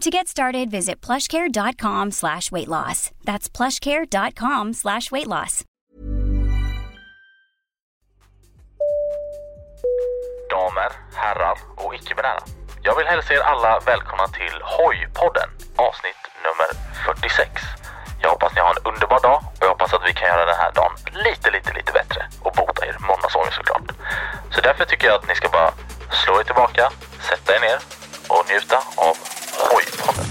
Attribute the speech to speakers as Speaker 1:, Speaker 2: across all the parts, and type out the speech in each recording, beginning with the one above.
Speaker 1: To get started, visit plushcare.com slash weight loss. That's plushcare.com slash weight loss.
Speaker 2: damer, herrar och icke-binära. Jag vill hälsa er alla välkomna till Hoj-podden, avsnitt nummer 46. Jag hoppas ni har en underbar dag och jag hoppas att vi kan göra den här dagen lite, lite, lite bättre och bota er måndagsångest såklart. Så därför tycker jag att ni ska bara slå er tillbaka, sätta er ner och njuta av Hoj-podden.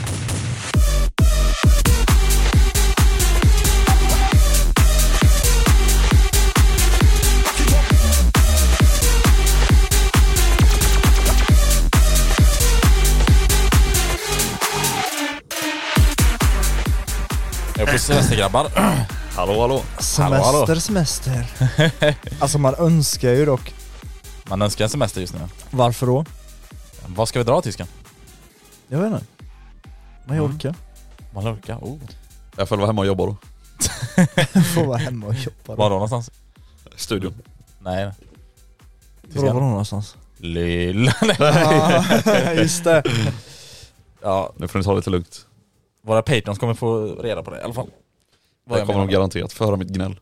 Speaker 3: Jag är på semester grabbar. hallå hallå. Hallå, hallå.
Speaker 4: Semester, semester. Alltså man önskar ju dock.
Speaker 3: Man önskar en semester just nu.
Speaker 4: Varför då?
Speaker 3: Vad ska vi dra tysken?
Speaker 4: Jag vet inte. Mallorca.
Speaker 3: Mallorca? Oh.
Speaker 5: Jag får vara hemma och jobba då.
Speaker 4: Får vara hemma och jobba.
Speaker 3: Var då någonstans?
Speaker 5: Studion.
Speaker 3: Nej.
Speaker 4: Var var de någonstans?
Speaker 3: Lilla... Nej.
Speaker 4: Ja, just det.
Speaker 3: Ja,
Speaker 5: Nu får ni ta det lite lugnt.
Speaker 3: våra patrons kommer få reda på det i alla fall. Vad
Speaker 5: Jag
Speaker 3: jag
Speaker 5: kommer de
Speaker 3: menar.
Speaker 5: garanterat få höra mitt gnäll.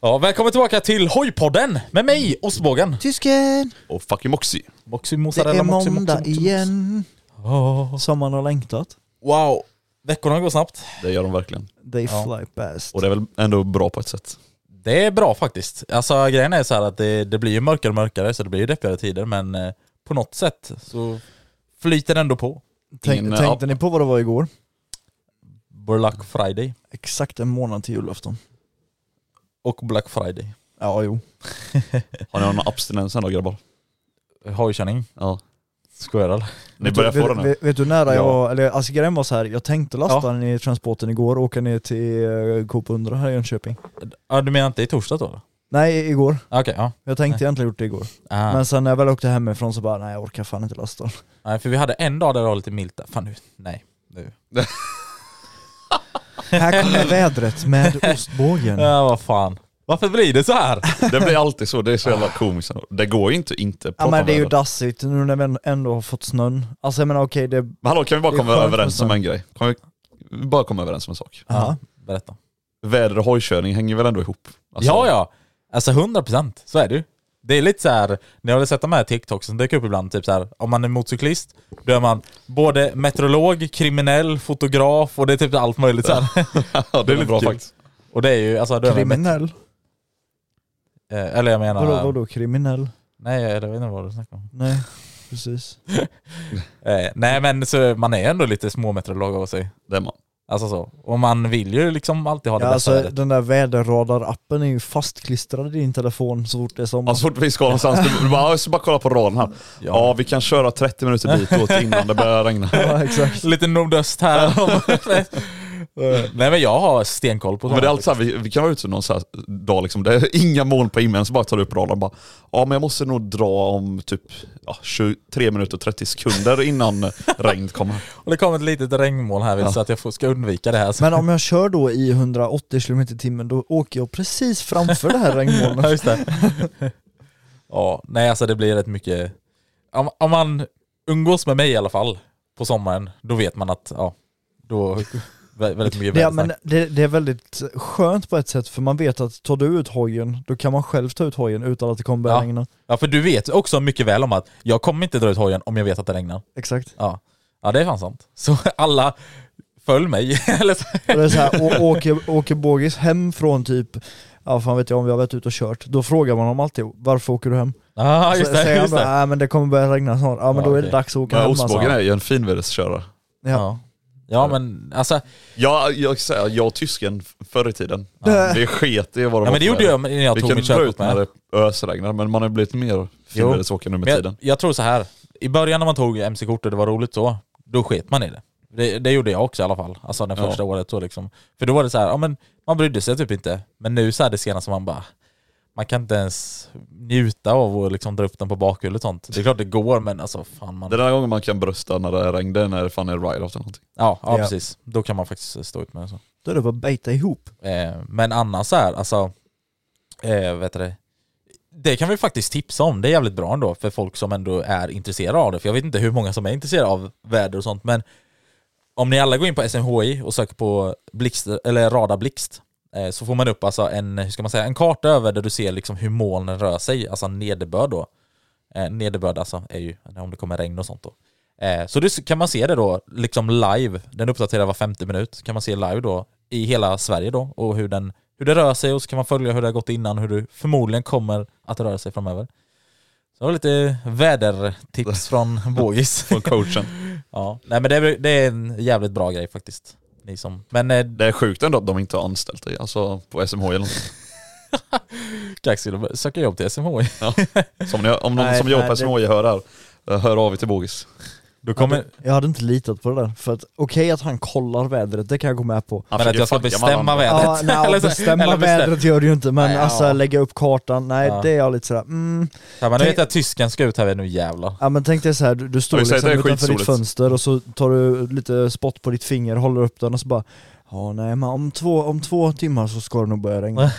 Speaker 3: Ja, välkommen tillbaka till Hojpodden med mig, Ostbågen.
Speaker 4: Tysken!
Speaker 5: Och fucking Moxie.
Speaker 3: Moxie
Speaker 4: Det
Speaker 3: mozzarella,
Speaker 4: är
Speaker 3: moxie, moxie,
Speaker 4: måndag
Speaker 3: moxie,
Speaker 4: igen.
Speaker 3: moxie.
Speaker 4: Som man har längtat.
Speaker 3: Wow. Veckorna går snabbt.
Speaker 5: Det gör de verkligen.
Speaker 4: They
Speaker 3: Ja.
Speaker 4: fly past.
Speaker 5: Och det är väl ändå bra på ett sätt.
Speaker 3: Det är bra faktiskt. Alltså grejen är så här att det, det blir ju mörkare och mörkare så det blir ju deppigare tider men eh, på något sätt så flyter det ändå på.
Speaker 4: Tänk,
Speaker 5: Ingen, ja.
Speaker 4: tänkte ni på vad det var igår?
Speaker 3: Black Friday
Speaker 4: Exakt en månad till julafton.
Speaker 3: och Black Friday.
Speaker 4: Ja, jo.
Speaker 5: Har ni någon abstinens ändå grabbar?
Speaker 3: Hojkänning.
Speaker 5: Ja.
Speaker 3: Skojar eller?
Speaker 5: Ni börjar få den
Speaker 4: vet,
Speaker 5: nu.
Speaker 4: vet, vet du nära
Speaker 5: Ja.
Speaker 4: jag, eller alltså grejen var så här, jag tänkte lasta
Speaker 3: Ja.
Speaker 4: den i transporten igår och åka ner till eh, Coop 100 här i Jönköping.
Speaker 3: Ja du menar inte i torsdag då?
Speaker 4: Nej, igår.
Speaker 3: Okej, ja.
Speaker 4: Jag tänkte egentligen gjort det igår.
Speaker 3: Ah.
Speaker 4: Men sen när jag väl åkte hemifrån så bara, nej jag orkar fan inte lasta den.
Speaker 3: Nej för vi hade en dag där det var lite milt där. Fan nu, nej. Nu.
Speaker 4: Här kommer vädret med ostbågen.
Speaker 3: Ja vad fan. Varför blir det så här?
Speaker 5: Det blir alltid så. Det är så jävla komiskt. ändå. Det går ju inte att inte prata
Speaker 4: Ja
Speaker 5: om
Speaker 4: men det är ju
Speaker 5: vädret.
Speaker 4: dassigt nu när vi ändå har fått snön. Alltså jag menar okej det,
Speaker 5: Men hallå, kan vi bara
Speaker 4: Det är
Speaker 5: komma
Speaker 4: skönt med
Speaker 5: överens om
Speaker 4: snö.
Speaker 5: en grej? Kan vi vi bara komma överens om en sak?
Speaker 4: ja.
Speaker 3: Berätta.
Speaker 5: Väder och hojkörning hänger väl ändå ihop? Alltså,
Speaker 3: ja ja. Alltså 100% så är det ju. Det är lite så här, ni har väl sett de här TikToks som dyker upp ibland, typ så här, om man är motorcyklist, då är man både meteorolog, kriminell, fotograf och det är typ allt möjligt så här.
Speaker 5: ja. Det är
Speaker 3: lite
Speaker 5: bra
Speaker 3: kul.
Speaker 5: faktiskt.
Speaker 3: Och det är ju, alltså då är man,
Speaker 4: kriminell.
Speaker 3: eh, eller jag menar...
Speaker 4: Vadå, vadå kriminell?
Speaker 3: Nej, jag vet inte vad du snackar om.
Speaker 4: Nej, precis.
Speaker 3: Eh, nej men så man är ändå lite småmeteorolog av sig.
Speaker 5: Det är man.
Speaker 3: Alltså så. Och man vill ju liksom alltid ha det
Speaker 4: Ja,
Speaker 3: bästa
Speaker 4: alltså
Speaker 3: vädret.
Speaker 4: den där väderradarappen är ju fastklistrad i din telefon så fort det är sommar.
Speaker 5: Ja, så fort vi ska någonstans, du bara, ja, jag ska bara kolla på raden här. Ja, vi kan köra 30 minuter dit åt innan det börjar regna.
Speaker 4: ja exakt.
Speaker 3: Lite nordöst här. Nej men jag har stenkoll på
Speaker 5: Men det är
Speaker 3: sånt.
Speaker 5: alltid
Speaker 4: alltså-
Speaker 5: så här, vi, vi kan vara ute någon så här dag liksom, det är inga moln på himlen, så bara tar du upp radarn och bara Ja men jag måste nog dra om typ ja, 23 minuter och 30 sekunder innan regn kommer.
Speaker 3: Och det kom ett litet regnmoln här vid, så att jag får, ska undvika det här. Så.
Speaker 4: Men om jag kör då i 180 km i timmen då åker jag precis framför det här
Speaker 3: Ja,
Speaker 4: regnmolnet.
Speaker 3: just det. ja, nej alltså det blir rätt mycket. Om, om man umgås med mig i alla fall på sommaren, då vet man att, ja, då vä- väldigt mycket
Speaker 4: Det,
Speaker 3: vädersnack.
Speaker 4: men det, det är väldigt skönt på ett sätt för man vet att tar du ut hojen då kan man själv ta ut hojen utan att det kommer börja
Speaker 3: Ja.
Speaker 4: regna.
Speaker 3: Ja för du vet också mycket väl om att jag kommer inte dra ut hojen om jag vet att det regnar.
Speaker 4: Exakt.
Speaker 3: Ja, ja det är fan sant. Så alla, följ mig. Eller så.
Speaker 4: Och det är så här, å- åker, åker Bågis hem från typ, ja fan vet jag om vi har varit ute och kört, då frågar man honom alltid varför åker du hem?
Speaker 3: Ja just
Speaker 4: Så
Speaker 3: det,
Speaker 4: säger han
Speaker 3: just
Speaker 4: bara, "Ah."
Speaker 3: det.
Speaker 4: nej men det kommer börja regna snart, ja men
Speaker 3: Ja,
Speaker 4: då är det
Speaker 3: okej.
Speaker 4: dags att åka
Speaker 5: Men
Speaker 4: hem alltså.
Speaker 5: Ostbågen är ju en finväderskörare.
Speaker 4: Ja.
Speaker 3: Ja. ja men alltså,
Speaker 5: Ja, jag, ska säga, jag och tysken förr i tiden, vi sket i vad de
Speaker 3: ja, men det gjorde jag när jag
Speaker 5: Vi
Speaker 3: tog
Speaker 5: kunde
Speaker 3: mitt
Speaker 5: dra ut
Speaker 3: körkort med.
Speaker 5: när det ösregnade, men man har blivit mer finvädersåkare nu med
Speaker 3: Men jag,
Speaker 5: tiden.
Speaker 3: jag tror så här. I början när man tog MC-kort och det var roligt så, då sket man i det. Det, det gjorde jag också i alla fall. Alltså det
Speaker 5: Ja.
Speaker 3: första året så liksom. För då var det så här, ja men man brydde sig typ inte. Men nu så här det senaste man bara, man kan inte ens njuta av att liksom dra upp den på bakhjulet och sånt. Det är klart det går men alltså fan man...
Speaker 5: Den här gången man kan brösta när det regnar, det är när det fan är ride-off eller någonting.
Speaker 3: Ja, ja
Speaker 4: Ja.
Speaker 3: precis. Då kan man faktiskt stå ut med det så.
Speaker 4: Då är det bara att bita ihop.
Speaker 3: Eh, men annars så här, alltså, eh, vet du det? Det kan vi faktiskt tipsa om, det är jävligt bra ändå för folk som ändå är intresserade av det. För jag vet inte hur många som är intresserade av väder och sånt men om ni alla går in på SMHI och söker på blixt, eller radarblixt eh, så får man upp alltså en, hur ska man säga, en karta över där du ser liksom hur molnen rör sig, alltså nederbörd då. Eh, nederbörd alltså är ju om det kommer regn och sånt då. Eh, så det kan man se det då liksom live, den uppdaterar var femte minut, kan man se live då i hela Sverige då och hur, den, hur det rör sig och så kan man följa hur det har gått innan, hur det förmodligen kommer att röra sig framöver. Så det var lite vädertips från Bågis.
Speaker 5: Från coachen.
Speaker 3: ja. Nej men det är, det är en jävligt bra grej faktiskt. Ni som, men eh,
Speaker 5: Det är sjukt ändå att de inte har anställt dig, alltså på SMH eller någonting.
Speaker 3: Kaxil söker jobb till SMHI.
Speaker 5: Så om, ni, om någon
Speaker 4: Nej,
Speaker 5: som jobbar
Speaker 4: nej,
Speaker 5: på SMH hör här, eh, hör av er till Bogis.
Speaker 3: Då kommer,
Speaker 4: Jag hade inte litat på det där, för att okej att han kollar vädret, det kan jag gå med på.
Speaker 5: Han
Speaker 3: men att
Speaker 5: försöker
Speaker 3: jag ska
Speaker 5: fucka med
Speaker 3: bestämma
Speaker 5: varandra.
Speaker 3: vädret.
Speaker 4: Ja, nej,
Speaker 3: Eller så-
Speaker 4: bestämma
Speaker 3: eller bestäm-
Speaker 4: vädret gör du ju inte, men
Speaker 3: Nej, ja.
Speaker 4: alltså lägga upp kartan, nej
Speaker 3: Ja.
Speaker 4: det är jag lite sådär, mm.
Speaker 3: Ja, men nu vet
Speaker 4: Tänk-
Speaker 3: jag att tysken ska ut här nu jävlar.
Speaker 4: Ja men tänk dig såhär, du, du står
Speaker 5: Oj, säg att
Speaker 4: liksom
Speaker 5: det är
Speaker 4: utanför ditt
Speaker 5: skitsoligt.
Speaker 4: fönster och så tar du lite spott på ditt finger, håller upp den och så bara Ja nej men om två, om två timmar så ska det nog börja regna.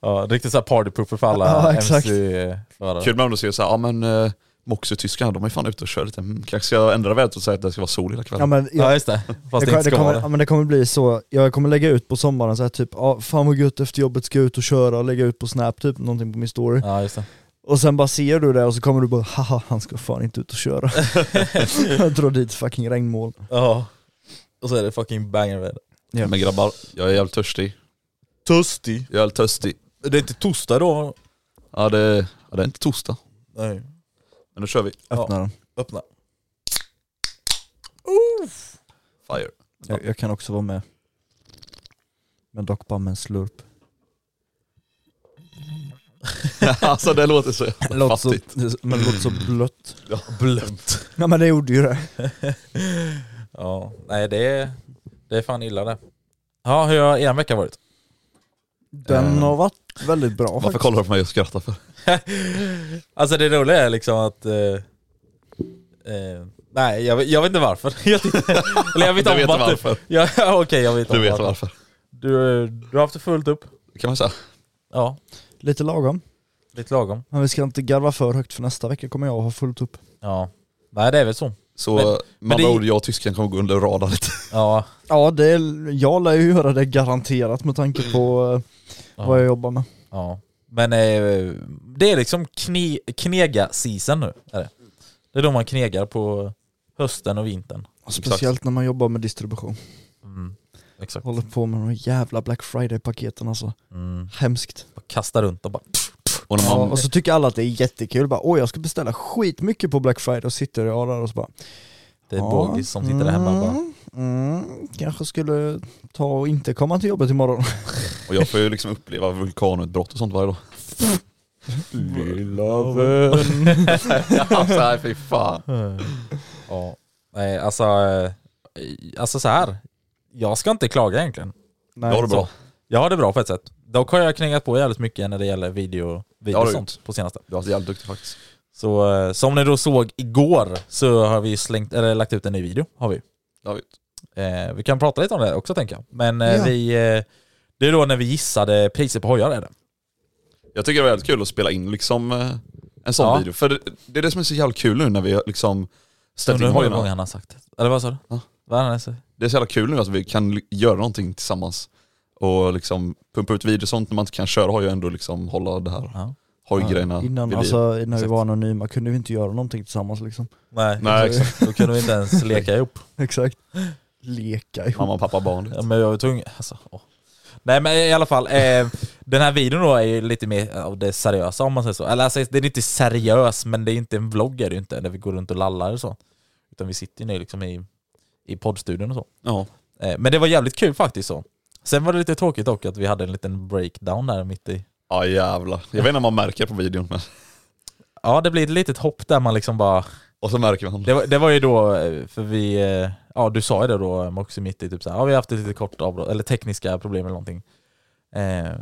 Speaker 3: Ja, riktigt såhär partypooper för alla
Speaker 4: Ja, exakt.
Speaker 3: MC-förare.
Speaker 5: Kul med om du säger såhär, ja men eh, Moxie-tyskarna de är fan ute och kör lite. Mm, kanske ska jag ändra vädret och säga att det ska vara sol hela kvällen.
Speaker 4: Ja men
Speaker 3: Ja
Speaker 4: jag,
Speaker 3: just det, fast
Speaker 4: det, kommer,
Speaker 3: det inte
Speaker 4: det,
Speaker 3: ska
Speaker 4: kommer,
Speaker 3: vara det.
Speaker 4: ja, men det kommer bli så, jag kommer lägga ut på sommaren så här typ ja, fan vad gött efter jobbet ska jag ut och köra och lägga ut på snap typ någonting på min story.
Speaker 3: Ja just det.
Speaker 4: Och sen bara ser du det och så kommer du bara haha han ska fan inte ut och köra. jag drar dit fucking regnmoln.
Speaker 3: Ja. Och så är det fucking banger väder.
Speaker 4: ja.
Speaker 5: Men grabbar, jag är jävligt törstig.
Speaker 3: Törstig.
Speaker 5: Jag är jävligt törstig.
Speaker 3: Det är inte torsdag då?
Speaker 5: Ja det, ja, det är inte torsdag,
Speaker 3: Nej.
Speaker 5: men nu kör vi.
Speaker 4: Öppna den.
Speaker 3: Öppna.
Speaker 5: Fire.
Speaker 4: Jag, jag kan också vara med. Men dock bara med en slurp.
Speaker 5: alltså det låter så
Speaker 4: Det
Speaker 5: jävla
Speaker 4: låter så,
Speaker 5: fattigt.
Speaker 4: det- men det låter så blött.
Speaker 5: Ja, blött.
Speaker 4: Ja men det gjorde ju det.
Speaker 3: Ja, nej det är, det är fan illa det. Ja, hur har er vecka varit?
Speaker 4: Den
Speaker 5: Eh.
Speaker 4: har varit väldigt bra
Speaker 5: Varför
Speaker 4: faktiskt.
Speaker 5: kollar du på mig och skrattar för?
Speaker 3: Alltså det roliga är liksom att... Eh, eh, nej, jag, vet- jag vet inte varför. Jag vet inte- Eller jag vet
Speaker 5: Du
Speaker 3: om
Speaker 5: vet
Speaker 3: att du-
Speaker 5: varför.
Speaker 3: Ja, Okej, jag vet
Speaker 5: Du
Speaker 3: om
Speaker 5: vet varför.
Speaker 3: Du, du har haft det fullt upp.
Speaker 5: Kan man säga.
Speaker 3: Ja,
Speaker 4: Lite lagom.
Speaker 3: lite lagom.
Speaker 4: Men vi ska inte garva för högt för nästa vecka kommer jag ha fullt upp.
Speaker 3: Ja. Nej det är väl så.
Speaker 5: Så
Speaker 3: Men-
Speaker 5: med
Speaker 3: men det-
Speaker 5: andra ord, jag och tysken kommer gå under radarn lite.
Speaker 3: Ja.
Speaker 4: Ja, det är, jag lär ju göra det garanterat med tanke på eh,
Speaker 3: ja.
Speaker 4: vad jag jobbar med.
Speaker 3: Ja. Men eh, det är liksom kne, knega-season nu. Är det. det är då man knegar på hösten och vintern.
Speaker 4: Speciellt när man jobbar med distribution.
Speaker 3: Mm. Exakt.
Speaker 4: Håller på med de jävla Black Friday-paketen alltså.
Speaker 3: Mm.
Speaker 4: Hemskt.
Speaker 3: Bara kasta runt och bara...
Speaker 5: Och när
Speaker 4: Ja,
Speaker 5: man,
Speaker 4: och så tycker alla att det är jättekul. Bara, Åh, jag ska beställa skitmycket på Black Friday och sitter och där och så bara
Speaker 3: Det är Bågis som sitter där hemma och bara...
Speaker 4: Mm, mm, kanske skulle ta och inte komma till jobbet imorgon.
Speaker 5: och jag får ju liksom uppleva vulkanutbrott och sånt varje dag. Lilla vän. alltså nej, fy fan.
Speaker 3: Ja. Nej, alltså... eh, Alltså så här. jag ska inte klaga egentligen.
Speaker 4: Nej,
Speaker 5: Ja, det är bra.
Speaker 3: Så, jag har det bra på ett sätt. Dock har jag knägat på jävligt mycket när det gäller video, video
Speaker 5: har
Speaker 3: och
Speaker 5: du
Speaker 3: sånt på senaste.
Speaker 5: Du är alltså jävligt duktig faktiskt.
Speaker 3: Så eh, som ni då såg igår så har vi slängt, eller lagt ut en ny video. Har vi.
Speaker 5: Jag vet.
Speaker 3: Eh, vi kan prata lite om det också tänker jag. Men eh,
Speaker 4: Ja.
Speaker 3: vi, eh, det är då när vi gissade priser på hojar är det.
Speaker 5: Jag tycker det var jävligt kul att spela in liksom eh, en sån
Speaker 3: Ja.
Speaker 5: video. För det, det är det som är så jävla kul nu när vi liksom ställt
Speaker 3: Undrar
Speaker 5: in
Speaker 3: hur många gånger
Speaker 5: hojarna.
Speaker 3: han har sagt det. Eller vad sa du?
Speaker 5: Ja.
Speaker 3: Vad är det han sa?
Speaker 5: Det är så jävla kul nu att vi kan li- göra någonting tillsammans. Och liksom pumpa ut videos och sånt när man inte kan köra har ju ändå liksom hålla det här
Speaker 3: Ja.
Speaker 5: hojgrejerna vid
Speaker 4: Innan,
Speaker 5: liv.
Speaker 4: alltså, innan vi
Speaker 5: Exakt.
Speaker 4: var anonyma kunde vi inte göra någonting tillsammans liksom.
Speaker 3: Nej,
Speaker 5: Nej exakt.
Speaker 3: då kunde vi inte ens leka ihop.
Speaker 4: Exakt. Leka ihop.
Speaker 5: Mamma, pappa, barn.
Speaker 3: Ja, men jag var tvungen, alltså, åh. Nej men i alla fall, eh, den här videon då är ju lite mer av det seriösa om man säger så. Eller alltså, den är inte seriös men det är inte en vlogg är det ju inte, där vi går runt och lallar och så. Utan vi sitter ju nu liksom i, i poddstudion och så.
Speaker 5: Ja.
Speaker 3: Eh, men det var jävligt kul faktiskt så. Sen var det lite tråkigt dock att vi hade en liten breakdown där mitt i.
Speaker 5: Ja jävlar. Jag vet inte om man märker på videon men.
Speaker 3: Ja det blir ett litet hopp där man liksom bara
Speaker 5: Och så märker man.
Speaker 3: Det var, det var ju då, eh, för vi, eh, ja du sa ju det då Moxie mitt i, typ såhär, ja vi har haft ett lite kort avbrott, eller tekniska problem eller någonting. Eh,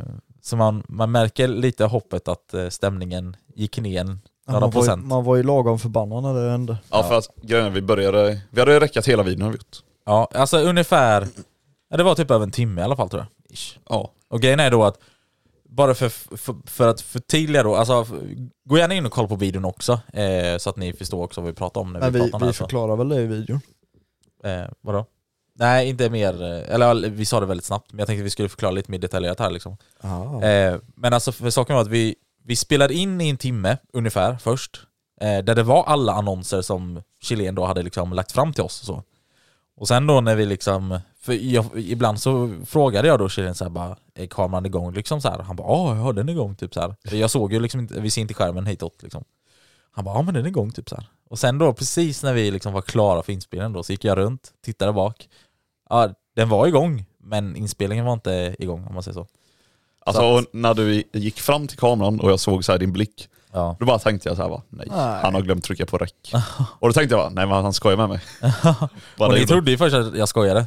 Speaker 3: så man, man märker lite hoppet att eh, stämningen gick ner
Speaker 4: Ja, man,
Speaker 3: några
Speaker 4: var ju,
Speaker 3: procent.
Speaker 4: man var ju lagom förbannad när det hände.
Speaker 5: Ja för att grejen är, vi började, vi hade ju räckat hela videon har vi gjort.
Speaker 3: Ja, alltså ungefär, ja, det var typ över en timme i alla fall tror jag. Ish.
Speaker 5: Ja.
Speaker 3: Och grejen är då att, bara för, för, för att förtydliga då, alltså f- gå gärna in och kolla på videon också, eh, så att ni förstår också vad vi pratar om när
Speaker 4: Men
Speaker 3: vi,
Speaker 4: vi,
Speaker 3: pratar om
Speaker 4: vi
Speaker 3: det alltså. här. så.
Speaker 4: förklarar väl det i videon.
Speaker 3: Eh, vadå? Nej, inte mer, eh, eller ja, vi sa det väldigt snabbt, men jag tänkte vi skulle förklara lite mer detaljerat här liksom. Eh, men alltså för saken var att vi, vi spelade in i en timme ungefär först, eh, där det var alla annonser som Chilén då hade liksom lagt fram till oss och så. Och sen då när vi liksom, för jag, ibland så frågade jag då Chilén såhär bara, är kameran igång liksom så här. Han bara, ja jag har den igång typ så här. För Jag såg ju liksom inte, vi ser inte skärmen hitåt liksom. Han bara, ja men den är igång typ så här. Och sen då precis när vi liksom var klara för inspelningen då så gick jag runt, tittade bak. Ja, den var igång, men inspelningen var inte igång om man säger så.
Speaker 5: Alltså och när du gick fram till kameran och jag såg så här din blick.
Speaker 3: Ja.
Speaker 5: Då bara tänkte jag så här va, nej,
Speaker 4: Nej.
Speaker 5: han har glömt trycka på räck. och då tänkte jag va, nej men han skojar med mig. Bara
Speaker 3: Och
Speaker 5: det
Speaker 3: ni
Speaker 5: gjorde.
Speaker 3: trodde ju först att jag skojade.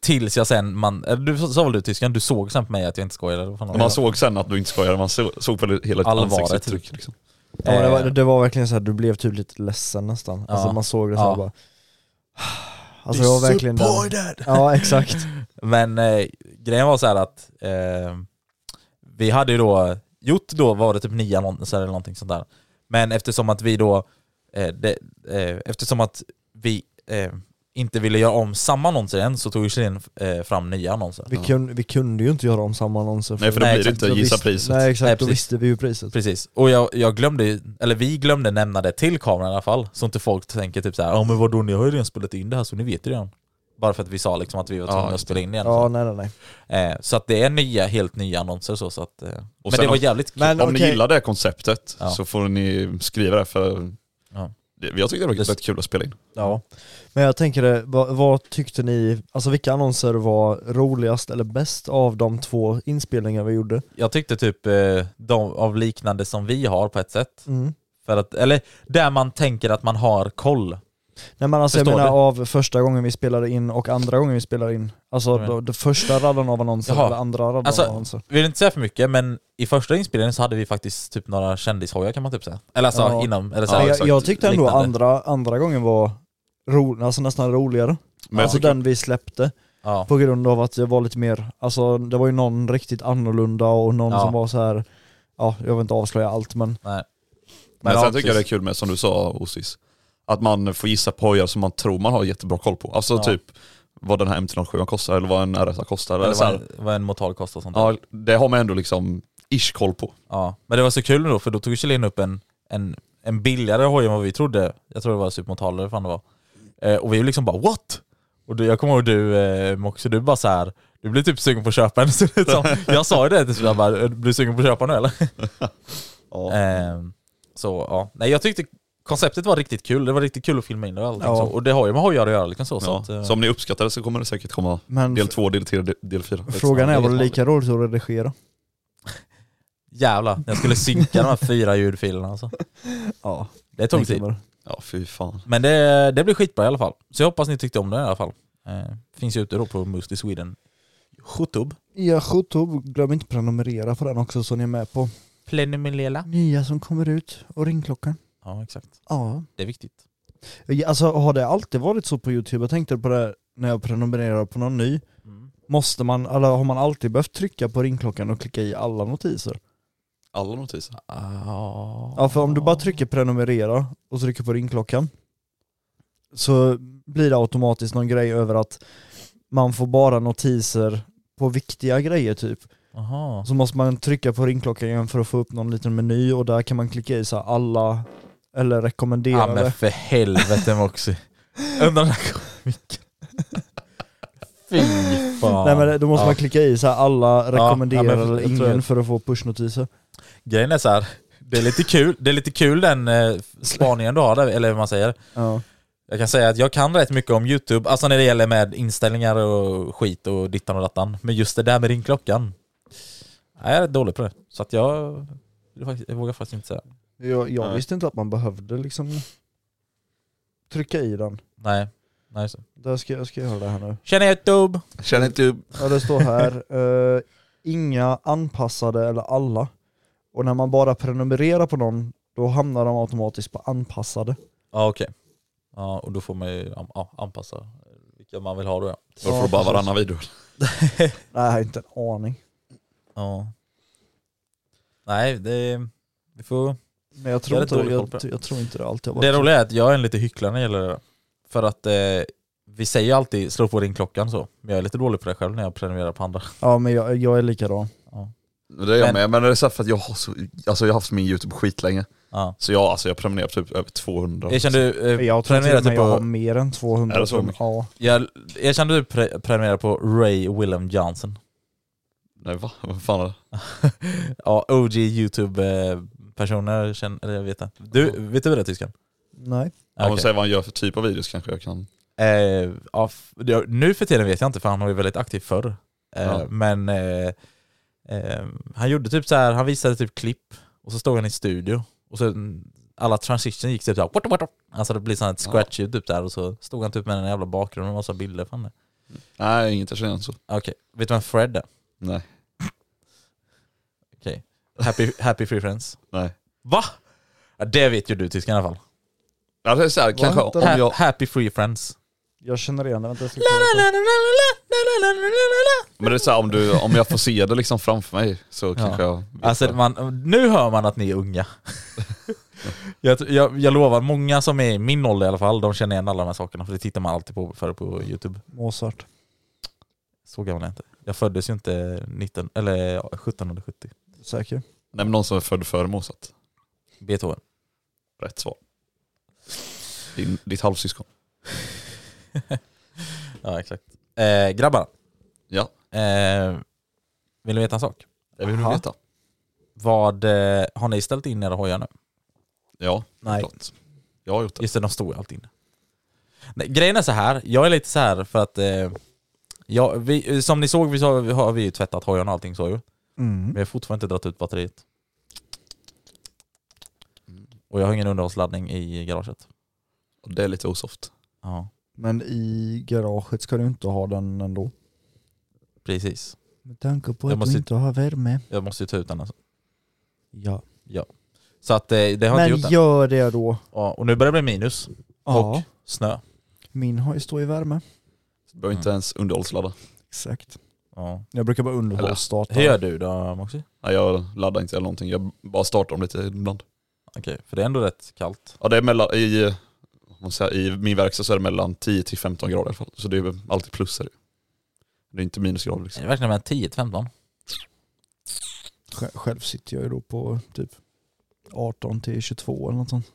Speaker 3: Tills jag sen, man, eller du sa väl du tyskan, du såg sen på mig att jag inte skojade. eller vad fan var
Speaker 5: Men
Speaker 3: det?
Speaker 5: man såg sen att du inte skojade, man såg, såg på hela ditt
Speaker 3: Allvaret. typ.
Speaker 5: ansiktsuttryck. Liksom.
Speaker 4: Ja, men det, var,
Speaker 3: Eh.
Speaker 4: det var verkligen så här, du blev typ lite ledsen nästan. Alltså
Speaker 3: Ja.
Speaker 4: man såg det så här,
Speaker 3: Ja.
Speaker 4: bara... Alltså det var verkligen den. Ja exakt.
Speaker 3: Men eh, grejen var så här att eh, vi hade ju då gjort då var det typ nio annonser eller någonting sånt där. Men eftersom att vi då, eh, det, eh, eftersom att vi eh, inte ville göra om samma annonser än så tog ju Kjellin eh, fram nya annonser.
Speaker 4: Vi, kunde, vi kunde ju inte göra om samma annonser.
Speaker 5: Nej för då
Speaker 3: Nej,
Speaker 5: blir det
Speaker 3: exakt.
Speaker 5: inte
Speaker 4: då
Speaker 5: gissa
Speaker 4: visste-
Speaker 5: priset.
Speaker 4: Nej exakt,
Speaker 3: Nej,
Speaker 4: då
Speaker 3: precis.
Speaker 4: visste vi ju priset.
Speaker 3: Precis, och jag, jag glömde, eller vi glömde nämna det till kameran i alla fall, så inte folk tänker typ såhär ja men vadå ni har ju redan spelat in det här så ni vet ju redan. Bara för att vi sa liksom att vi var
Speaker 5: Ja,
Speaker 3: tvungna att
Speaker 5: just
Speaker 3: spela in igen.
Speaker 4: Ja nej nej nej.
Speaker 3: Eh, så att det är nya, helt nya annonser så, så att, eh. Men
Speaker 5: sen
Speaker 3: det var
Speaker 5: om-
Speaker 3: jävligt kul.
Speaker 4: Men
Speaker 5: Om ni
Speaker 4: okej.
Speaker 5: gillar det här konceptet
Speaker 3: Ja.
Speaker 5: så får ni skriva det för
Speaker 3: Ja.
Speaker 5: det, jag tyckte det var
Speaker 3: Det-
Speaker 5: rätt kul att spela in.
Speaker 4: Ja. Men jag tänker det, vad, vad tyckte ni, alltså vilka annonser var roligast eller bäst av de två inspelningar vi gjorde?
Speaker 3: Jag tyckte typ eh, de av liknande som vi har på ett sätt.
Speaker 4: Mm.
Speaker 3: För att, eller där man tänker att man har koll.
Speaker 4: Nej men alltså
Speaker 3: Förstår
Speaker 4: jag menar
Speaker 3: du?
Speaker 4: av första gången vi spelade in och andra gången vi spelade in. Alltså
Speaker 3: Mm.
Speaker 4: då, det första raden av annonser
Speaker 3: Jaha.
Speaker 4: eller andra raden
Speaker 3: Alltså,
Speaker 4: av annonser.
Speaker 3: Vi vill inte säga för mycket men i första inspelningen så hade vi faktiskt typ några kändishojar kan man typ säga. Eller alltså
Speaker 4: Ja.
Speaker 3: inom, eller så
Speaker 5: Ja,
Speaker 3: här,
Speaker 4: Men jag,
Speaker 5: exakt.
Speaker 4: jag tyckte ändå
Speaker 3: Liknande.
Speaker 4: andra, andra gången var ro, alltså nästan roligare.
Speaker 5: Men jag
Speaker 4: alltså
Speaker 5: tycker-
Speaker 4: den vi släppte
Speaker 3: ja.
Speaker 4: på grund av att det var lite mer, alltså det var ju någon riktigt annorlunda och någon
Speaker 3: Ja.
Speaker 4: som var så här. ja jag vill inte avslöja allt men
Speaker 3: Nej.
Speaker 5: Men,
Speaker 3: ja,
Speaker 5: sen tycker jag det är
Speaker 3: precis.
Speaker 5: kul med, som du sa Osis, att man får gissa på hojar som man tror man har jättebra koll på. Alltså
Speaker 3: Ja.
Speaker 5: typ vad den här MT-07 kostar eller vad en RS kostar. Eller
Speaker 3: Eller
Speaker 5: så
Speaker 3: vad
Speaker 5: här,
Speaker 3: en, vad en motal kostar och sånt där.
Speaker 5: ja, det har man ändå liksom ish koll på.
Speaker 3: Ja, men det var så kul då för då tog Kjellin upp en, en, en billigare hoj än vad vi trodde. Jag tror det var supermotaler eller fan det var. Eh, och vi liksom bara what? Och du, jag kommer ihåg du eh, Moxie, du bara så här. du blev typ sugen på att köpa en. Så det är som- jag sa ju det till Sofia, jag bara, "Är du- blir du sugen på att köpa nu eller? Eh, så ja, nej jag tyckte konceptet var riktigt kul, det var riktigt kul att filma in det och allting
Speaker 4: Ja.
Speaker 3: så. Och det har ju med hojar att göra liksom så. så
Speaker 5: Ja.
Speaker 3: att, eh,
Speaker 5: Så om ni uppskattar det så kommer det säkert komma
Speaker 4: Men
Speaker 5: del
Speaker 4: f-
Speaker 5: två, del tre, del- del fyra.
Speaker 4: frågan är,
Speaker 5: Exakt.
Speaker 4: var det lika roligt att redigera?
Speaker 3: Jävlar, jag skulle synka de här fyra ljudfilerna alltså.
Speaker 4: Ja,
Speaker 3: Det tog tid.
Speaker 5: Ja fy fan.
Speaker 3: Men det, det blir skitbra i alla fall. Så jag hoppas ni tyckte om det i alla fall. Eh, finns ju ute då på Must i Sweden. Youtube.
Speaker 4: Ja, Youtube, glöm inte prenumerera på den också så ni är med på
Speaker 3: Plenumelela.
Speaker 4: nya som kommer ut och ringklockan.
Speaker 3: Ja, exakt.
Speaker 4: Ja.
Speaker 3: Det är viktigt.
Speaker 4: Alltså har det alltid varit så på Youtube? Jag tänkte på det här när jag prenumererar på någon ny.
Speaker 3: Mm.
Speaker 4: Måste man, eller har man alltid behövt trycka på ringklockan och klicka i alla notiser?
Speaker 5: Alla notiser.
Speaker 3: Ah.
Speaker 4: Ja för om du bara trycker prenumerera och trycker på ringklockan så blir det automatiskt någon grej över att man får bara notiser på viktiga grejer typ.
Speaker 3: Aha.
Speaker 4: Så måste man trycka på ringklockan igen för att få upp någon liten meny och där kan man klicka i så här alla eller
Speaker 3: Ja
Speaker 4: rekommenderade.
Speaker 3: men för helvete Moxie. Undrar när komiken... Fy fan.
Speaker 4: Nej men då måste man klicka i så här alla
Speaker 3: ja,
Speaker 4: rekommenderade
Speaker 3: men
Speaker 4: eller
Speaker 3: jag tror
Speaker 4: ingen
Speaker 3: jag-
Speaker 4: för att få pushnotiser.
Speaker 3: Grejen är så här. Det är lite kul, det är lite kul den eh, spaningen du har där, eller hur man säger.
Speaker 4: Ja.
Speaker 3: Jag kan säga att jag kan rätt mycket om YouTube, alltså när det gäller med inställningar och skit och dittan och dattan. Men just det där med ringklockan. Jag är rätt dålig på det. Så att jag, jag vågar faktiskt inte säga.
Speaker 4: Jag, jag
Speaker 5: Nej.
Speaker 4: visste inte att man behövde liksom trycka i den.
Speaker 3: Nej. Nej så.
Speaker 4: Där ska jag, ska jag göra det här nu.
Speaker 3: Tjena YouTube!
Speaker 5: Känner inte...
Speaker 4: Ja det står här, eh, inga anpassade eller alla. Och när man bara prenumererar på någon, då hamnar de automatiskt på anpassade.
Speaker 3: Ja okej. Ja och då får man ju an- ja, anpassa vilka man vill ha då ja.
Speaker 5: Då får du bara varannan video.
Speaker 4: Nej, inte en aning.
Speaker 3: ja. Nej det, vi får...
Speaker 4: Men jag tror,
Speaker 3: Jag är
Speaker 4: inte,
Speaker 3: rätt dålig koll
Speaker 4: jag,
Speaker 3: på det.
Speaker 4: jag tror inte det alltid har varit
Speaker 3: Det
Speaker 4: så.
Speaker 3: roliga är att jag är en lite hycklare när det gäller det där. För att eh, vi säger ju alltid slå på ringklockan så. Men jag är lite dålig på det själv när jag prenumererar på andra.
Speaker 4: Ja men jag, jag är likadan.
Speaker 5: Det är jag
Speaker 3: Men-
Speaker 5: med, men det är så här för att jag har, så, alltså jag har haft min YouTube skitlänge.
Speaker 3: Ja.
Speaker 5: Så jag, alltså jag prenumererar på typ över 200.
Speaker 3: Erkänn du, eh,
Speaker 4: Jag tror till
Speaker 3: prenumererar
Speaker 4: och med
Speaker 3: typ
Speaker 4: jag har
Speaker 3: på,
Speaker 4: mer än 200
Speaker 5: Är det så
Speaker 4: prenum-
Speaker 5: mycket?
Speaker 4: Ja.
Speaker 3: jag, erkänn du pre, prenumererar på Ray Willem Johnson.
Speaker 5: Nej va? Vad fan är det?
Speaker 3: Ja, OG YouTube-personer, känner, eller jag vet inte. Du, vet du det tysken?
Speaker 4: Nej.
Speaker 5: Om man säger vad han gör för typ av videos kanske jag kan...
Speaker 3: Eh, ja, f- ja, nu för tiden vet jag inte för han var ju väldigt aktiv förr. Eh,
Speaker 5: Ja.
Speaker 3: Men eh, eh, han gjorde typ så här, han visade typ klipp och så stod han i studio och så mm, alla transition gick typ så här, what, what, what. Alltså det blir sånt ett
Speaker 5: Ja.
Speaker 3: scratch ljud typ där och så stod han typ med den jävla bakgrunden och massa bilder. Fan det.
Speaker 5: Nej inget jag känner inte så.
Speaker 3: Okej, vet du vem Fred är?
Speaker 5: Nej.
Speaker 3: Okej. Happy, happy Free Friends.
Speaker 5: Nej.
Speaker 3: Va? Ja, det vet ju du tysken i alla fall.
Speaker 5: Ja, det är så här, kanske om
Speaker 4: heter
Speaker 3: Ha,
Speaker 5: jag...
Speaker 3: Happy Free Friends.
Speaker 4: Jag känner igen det, vänta jag ska
Speaker 5: Men det är så här, om, du, om jag får se det liksom framför mig så kanske jag... vet
Speaker 3: Alltså
Speaker 5: det.
Speaker 3: man, nu hör man att ni är unga. jag, tr- jag, jag lovar, många som är i min ålder i alla fall, de känner igen alla de här sakerna för det tittar man alltid på för på Youtube.
Speaker 4: Mozart.
Speaker 3: Så gammal är jag inte. Jag föddes ju inte 19, eller ja, 1770.
Speaker 4: Säker?
Speaker 5: Nej men någon som är född före Mozart.
Speaker 3: Beethoven.
Speaker 5: Rätt svar. Din, ditt halvsyskon.
Speaker 3: Ja exakt. Eh, grabbar,
Speaker 5: Ja,
Speaker 3: eh, vill ni veta en sak?
Speaker 5: det vill du
Speaker 4: Aha.
Speaker 5: veta.
Speaker 3: Vad eh, har ni ställt in era hojar nu?
Speaker 5: Ja,
Speaker 4: Nej.
Speaker 5: klart. Jag har gjort det.
Speaker 3: Just det, de står ju alltid inne. Nej, grejen är så här, jag är lite så här för att eh, jag, vi, som ni såg vi, så har vi, har vi ju tvättat hojarna och allting så ju. Men
Speaker 4: Mm.
Speaker 3: jag har fortfarande inte dragit ut batteriet. Och jag har ingen underhållsladdning i garaget.
Speaker 5: Och Det är lite osoft.
Speaker 3: Ja,
Speaker 4: Men i garaget ska du inte ha den ändå.
Speaker 3: precis.
Speaker 4: Med tanke på
Speaker 3: Jag
Speaker 4: att
Speaker 3: måste-
Speaker 4: du inte har värme.
Speaker 3: Jag måste ju ta ut den alltså.
Speaker 4: Ja.
Speaker 3: Så att eh, det har
Speaker 4: Men
Speaker 3: jag inte gjort än.
Speaker 4: gör det då.
Speaker 3: Ja, och nu börjar det bli minus.
Speaker 4: Ja.
Speaker 3: Och snö.
Speaker 4: Min har ju stå i värme.
Speaker 5: Du behöver inte ens underhållsladda.
Speaker 4: Exakt.
Speaker 3: Ja.
Speaker 4: Jag brukar bara
Speaker 5: Eller,
Speaker 4: underhållsstarta.
Speaker 3: Hur gör du då Moxie?
Speaker 5: Nej, jag laddar inte eller någonting. Jag bara startar dem lite ibland.
Speaker 3: Okej, för det är ändå rätt kallt.
Speaker 5: Ja, det är mellan, i, om man säger, i min verkstad så är det mellan 10 till 15 grader i alla fall. Så det är alltid plus. Är det. ju. det är inte minusgrader
Speaker 3: Är
Speaker 5: liksom.
Speaker 3: det verkligen med 10-15?
Speaker 4: Sj- Själv sitter jag ju då på typ 18 till 22 eller något sånt.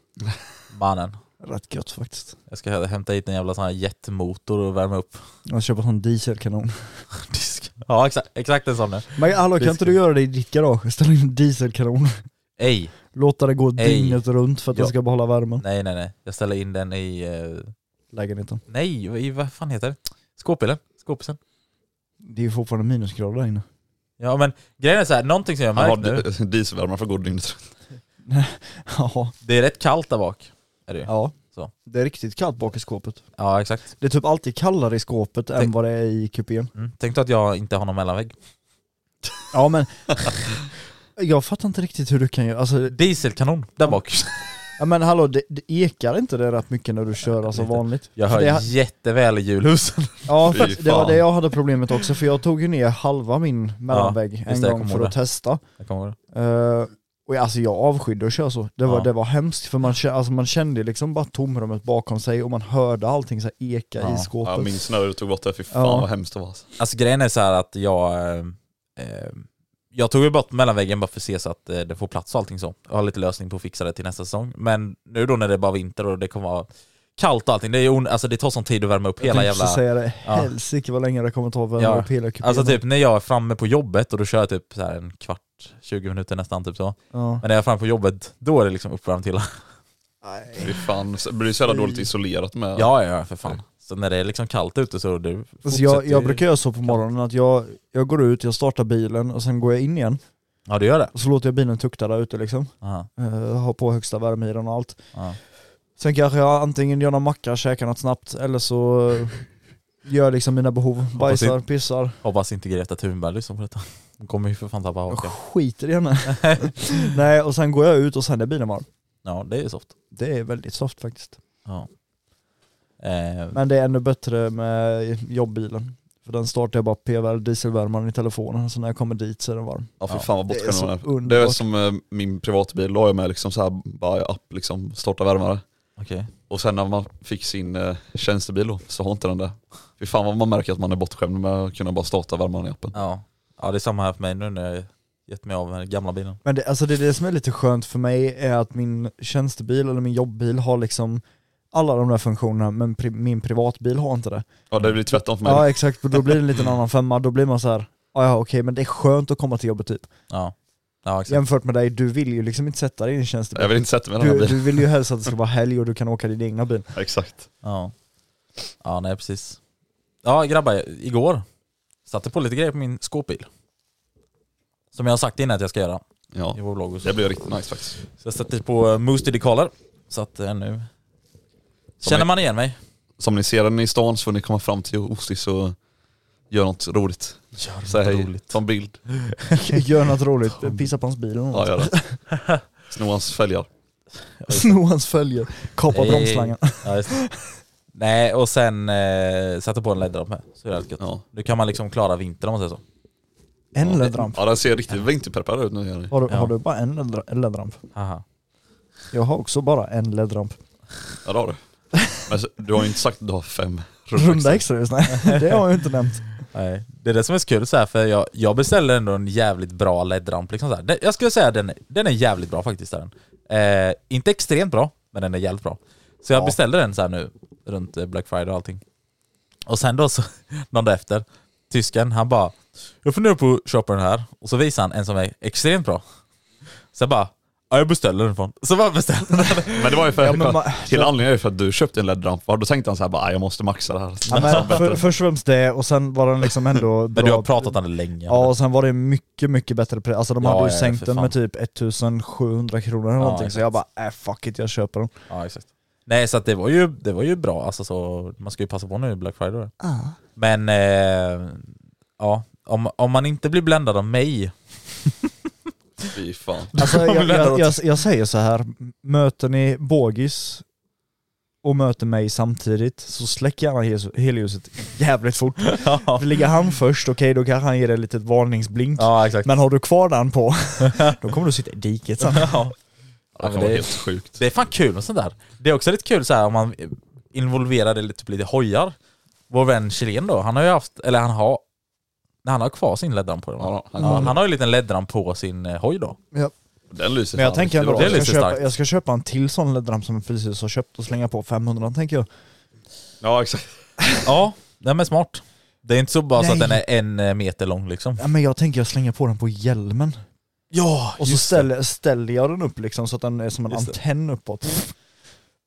Speaker 3: Mannen.
Speaker 4: Rätt gött faktiskt.
Speaker 3: Jag ska hämta hit en jävla sån här jetmotor och värma upp
Speaker 4: Jag köper en sån dieselkanon.
Speaker 3: disken. Ja exakt, exakt en sån.
Speaker 4: Men hallå kan inte du göra det i ditt garage? Ställa in en dieselkanon.
Speaker 3: Ej,
Speaker 4: Låta det gå
Speaker 3: Ej.
Speaker 4: dygnet runt för att
Speaker 3: Ja.
Speaker 4: den ska behålla värmen.
Speaker 3: nej nej nej. Jag ställer in den i... Eh,
Speaker 4: Lägenheten.
Speaker 3: nej, i vad fan heter det? Skåpbilen? Skåpisen?
Speaker 4: Det är ju fortfarande minusgrader där inne.
Speaker 3: Ja men grejen är så här, någonting som jag
Speaker 5: Han
Speaker 3: har
Speaker 5: har
Speaker 3: märkt nu,
Speaker 5: di- dieselvärmare för att gå dygnet runt.
Speaker 4: Ja.
Speaker 3: det är rätt kallt där bak. Är det. ju.
Speaker 4: ja.
Speaker 3: Så Så.
Speaker 4: Det är riktigt kallt bak i skåpet.
Speaker 3: Ja, exakt.
Speaker 4: Det är typ alltid kallare i skåpet än
Speaker 3: Tänk-
Speaker 4: vad det är i kupén.
Speaker 3: Mm. Tänk då att jag inte har någon mellanvägg.
Speaker 4: Ja men... Jag fattar inte riktigt hur du kan göra, alltså,
Speaker 3: Dieselkanon där bak.
Speaker 4: ja, men hallå det, det ekar inte det rätt mycket när du kör alltså
Speaker 3: Lite.
Speaker 4: vanligt?
Speaker 3: Jag
Speaker 4: För
Speaker 3: hör
Speaker 4: det,
Speaker 3: jätteväl i julhusen.
Speaker 4: Ja,
Speaker 5: Fy
Speaker 4: för det var
Speaker 5: fan.
Speaker 4: det jag hade problemet också, för jag tog ju ner halva min mellanvägg
Speaker 3: Ja,
Speaker 4: en
Speaker 3: visst, jag
Speaker 4: gång
Speaker 3: kommer
Speaker 4: för
Speaker 3: ihåg
Speaker 4: att testa.
Speaker 3: Jag kommer ihåg det.
Speaker 4: Eh, och jag, alltså jag avskydde att köra så. Det var,
Speaker 3: Ja.
Speaker 4: det var hemskt, för man, kä- alltså man kände liksom bara tomrummet bakom sig och man hörde allting så här eka
Speaker 3: Ja.
Speaker 4: i
Speaker 5: Ja,
Speaker 4: skåpet.
Speaker 5: jag minns när du tog bort det, fy fan
Speaker 4: Ja.
Speaker 5: vad hemskt det var. alltså.
Speaker 3: Alltså grejen är så här att jag... eh, Eh, jag tog ju bort mellanväggen bara för att se så att eh, det får plats och allting så. Jag har lite lösning på att fixa det till nästa säsong. Men nu då när det är bara vinter och det kommer vara kallt och allting. Det, är ju on- alltså, det tar sån tid att värma upp
Speaker 4: Typ jag
Speaker 3: hela
Speaker 4: tänkte
Speaker 3: jävla...
Speaker 4: precis säga det,
Speaker 3: Ja.
Speaker 4: helsike vad länge det kommer ta för
Speaker 3: Ja.
Speaker 4: en pela kupén.
Speaker 3: Alltså typ när jag är framme på jobbet och då kör jag typ så här en kvart, 20 minuter nästan typ så.
Speaker 4: ja.
Speaker 3: Men när jag är framme på jobbet, då är det liksom uppvärmt hela.
Speaker 4: Nej.
Speaker 5: Fy fan, så blir det så jävla dåligt isolerat med.
Speaker 3: Ja, ja, ja, för fan. Så när det är liksom kallt ute så du
Speaker 4: Alltså jag,
Speaker 3: fortsätter ju-
Speaker 4: jag brukar göra så på morgonen att jag, jag går ut, jag startar bilen och sen går jag in igen
Speaker 3: Ja, du gör det?
Speaker 4: och så låter jag bilen tukta där ute liksom.
Speaker 3: Aha,
Speaker 4: Uh, har på högsta värme i den och allt.
Speaker 3: ja.
Speaker 4: Sen kanske jag antingen gör någon macka, käkar något snabbt eller så eh, gör liksom mina behov. Bajsar, pissar,
Speaker 3: Hoppas inte Greta Thunberg lyssnar på detta. Hon kommer ju för fan tappa hakan.
Speaker 4: skiter i henne. Nej och sen går jag ut och sen är bilen varm.
Speaker 3: Ja, det är ju soft.
Speaker 4: Det är väldigt soft faktiskt.
Speaker 3: Ja. Eh,
Speaker 4: Men det är ännu bättre med jobbbilen. För den startar jag bara PVR, dieselvärmaren i telefonen, så när jag kommer dit så är den varm.
Speaker 5: Ja fy
Speaker 3: Ja.
Speaker 5: fan vad
Speaker 4: Det är
Speaker 5: bortskämd
Speaker 4: så
Speaker 5: man är. Det är
Speaker 4: underbart.
Speaker 5: som eh, min privatbil, då har jag med liksom så här, bara app liksom, starta värmare.
Speaker 3: Okej.
Speaker 5: Och sen när man fick sin eh, tjänstebil då, så har inte den det. Fy fan vad man märker att man är bortskämd med att kunna bara starta värmaren i appen.
Speaker 3: Ja. ja, det är samma här för mig nu när jag gett mig av den gamla bilen.
Speaker 4: Men det, alltså det, är det som är lite skönt för mig är att min tjänstebil eller min jobbbil har liksom alla de där funktionerna men pri, min privatbil har inte det.
Speaker 5: Ja det blir tvärtom för mig.
Speaker 4: Ja exakt, och då blir det en liten annan femma, då blir man så här, "Ah, ja okej men det är skönt att komma till jobbet typ.
Speaker 3: Ja, ja exakt.
Speaker 4: Jämfört med dig, du vill ju liksom inte sätta dig i en tjänstebil.
Speaker 5: Jag vill inte sätta mig i den här
Speaker 4: Du,
Speaker 5: bilen.
Speaker 4: du vill ju helst att det ska vara helg och du kan åka din egna bil.
Speaker 5: Ja, Exakt.
Speaker 3: Ja. ja, nej precis. Ja grabbar, igår satte på lite grejer på min skåpbil. Som jag har sagt innan att jag ska göra
Speaker 5: Ja.
Speaker 3: i vår vlogg. och Så
Speaker 5: Det blir riktigt nice faktiskt.
Speaker 3: Så jag satte på eh, Moose Diddy-collar. Så att eh, nu
Speaker 5: Som
Speaker 3: känner
Speaker 5: är-
Speaker 3: man igen mig.
Speaker 5: Som ni ser den i stan så får ni komma fram till Osti så gör något roligt.
Speaker 3: Gör
Speaker 5: Säg hej, ta en bild.
Speaker 4: Gör något roligt, pissa på hans bil eller
Speaker 5: Ja
Speaker 4: något.
Speaker 5: gör det. Sno hans fälgar.
Speaker 4: Sno hans följer, kapa
Speaker 3: Nej.
Speaker 4: bromsslangen.
Speaker 3: Ja, just det. Nej, och sen eh, satte på en LED-ramp med. Så är det helt gött.
Speaker 5: Ja.
Speaker 3: Nu kan man liksom klara vintern om man säger så.
Speaker 4: En LED-ramp.
Speaker 5: Ja den ser riktigt vinterpreparad ut nu gör ni.
Speaker 4: Har, du-
Speaker 3: Ja.
Speaker 4: har du bara en LED-ra- LED-ramp?
Speaker 3: Haha.
Speaker 4: Jag har också bara en LED-ramp.
Speaker 5: Ja det har du. Men så- du har ju inte sagt att du har fem
Speaker 4: Runda extraljus? Nej, det har jag inte nämnt.
Speaker 3: Nej. Det är det som är så kul så här, för jag, jag beställde ändå en jävligt bra LED-ramp. Liksom så här. Den- jag skulle säga att den, den är jävligt bra faktiskt. är Den. Eh, inte extremt bra, men den är jävligt bra. Så jag beställde den så här nu, runt eh, Black Friday och allting. Och sen då så, någon dag efter, tysken han bara Jag funderar på att köpa den här, och så visar han en som är extremt bra. Så jag bara, ja jag beställer den från. Så bara beställde jag den.
Speaker 5: Men det var ju för,
Speaker 4: Ja, men man-
Speaker 5: hela anledningen är för att du köpte en LED-ramp. Då tänkte han så här bara, "Ah, jag måste maxa det här.
Speaker 4: Ja, men för, först och främst det, och sen var den liksom ändå bra.
Speaker 3: Men du har pratat om det länge.
Speaker 4: Ja, och sen var det mycket, mycket bättre pris. Alltså de
Speaker 3: Ja,
Speaker 4: hade ju
Speaker 3: ja, ja,
Speaker 4: sänkt
Speaker 3: för
Speaker 4: den
Speaker 3: fan.
Speaker 4: med typ 1700 kronor eller någonting, så
Speaker 3: exakt.
Speaker 4: jag bara äh, fuck it, jag köper den.
Speaker 3: Ja, exakt. Nej, så att det, var ju, det var ju bra. Alltså, så, man ska ju passa på nu i Black Friday. Men eh, ja, om, om man inte blir bländad av mig.
Speaker 5: Fy fan.
Speaker 4: Alltså,
Speaker 3: kommer
Speaker 4: jag,
Speaker 3: lämna
Speaker 4: jag,
Speaker 3: åt-
Speaker 4: jag, jag säger så här, möter ni Bågis och möter mig samtidigt så släck gärna hel- helljuset jävligt fort.
Speaker 3: ja.
Speaker 4: Ligger han först, okej då kanske han ger dig ett litet varningsblink.
Speaker 3: ja, exakt.
Speaker 4: Men har du kvar den på, då kommer du sitta i diket sen.
Speaker 3: ja.
Speaker 5: Det
Speaker 3: men
Speaker 5: kommer vara
Speaker 3: det-
Speaker 5: helt sjukt.
Speaker 3: Det är fan kul med sånt där. Det är också lite kul så här om man involverar det lite, typ lite hojar. Vår vän Chilen då, han har ju haft, eller han har, nej, han har kvar sin ledram på den. va?
Speaker 5: Ja, han-
Speaker 3: Ja, han har ju en liten ledram på sin eh, hoj då.
Speaker 5: Den lyser
Speaker 4: Men jag
Speaker 5: fan
Speaker 4: tänker ändå
Speaker 5: riktigt
Speaker 4: att jag ska,
Speaker 3: det är lite
Speaker 4: köpa,
Speaker 3: starkt.
Speaker 4: jag ska köpa en till sån LED-ramp som jag precis har köpt och slänga på 500 tänker jag.
Speaker 5: bra. Ja exakt.
Speaker 3: Ja, den är smart. Det är inte så bara så att
Speaker 4: Nej.
Speaker 3: den är en eh, meter lång liksom.
Speaker 4: Ja, men jag tänker jag slänger på den på hjälmen.
Speaker 3: Ja,
Speaker 4: Och så ställer, ställer jag den upp liksom så att den är som en
Speaker 3: Just det.
Speaker 4: antenn uppåt.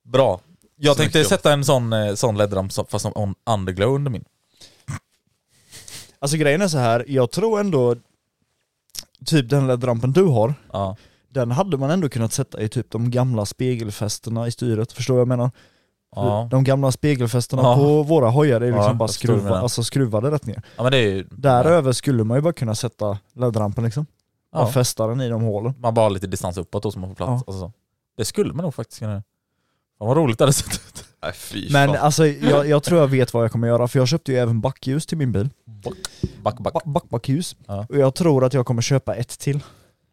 Speaker 3: Bra. Jag
Speaker 5: Så
Speaker 3: tänkte
Speaker 5: mycket jobb.
Speaker 3: sätta en sån, eh, sån LED-ramp som- fast som on- underglow under min.
Speaker 4: Alltså grejen är så här, jag tror ändå typ den LED-rampen du har,
Speaker 3: Ja.
Speaker 4: den hade man ändå kunnat sätta i typ de gamla spegelfästena i styret, förstår vad jag menar?
Speaker 3: Ja.
Speaker 4: De gamla spegelfästena
Speaker 3: Ja.
Speaker 4: på våra hojar är liksom
Speaker 3: Ja,
Speaker 4: bara
Speaker 3: jag förstår vad du
Speaker 4: skruva,
Speaker 3: menar.
Speaker 4: alltså skruvade rätt ner.
Speaker 3: ja, men det är ju...
Speaker 4: Däröver skulle man ju bara kunna sätta laddrampen liksom.
Speaker 3: Ja.
Speaker 4: Och fästa den i de hålen.
Speaker 3: Man bara har lite distans uppåt då som man får plats.
Speaker 4: Ja.
Speaker 3: Alltså, så. det skulle man nog faktiskt kunna göra. Fan vad roligt det hade sett ut.
Speaker 5: Nej fy
Speaker 4: Men
Speaker 5: fan.
Speaker 4: alltså jag, jag tror jag vet vad jag kommer göra, för jag köpte ju även backljus till min bil.
Speaker 3: Back, back.
Speaker 4: Ba- Back, backljus.
Speaker 3: Ja.
Speaker 4: Och jag tror att jag kommer köpa ett till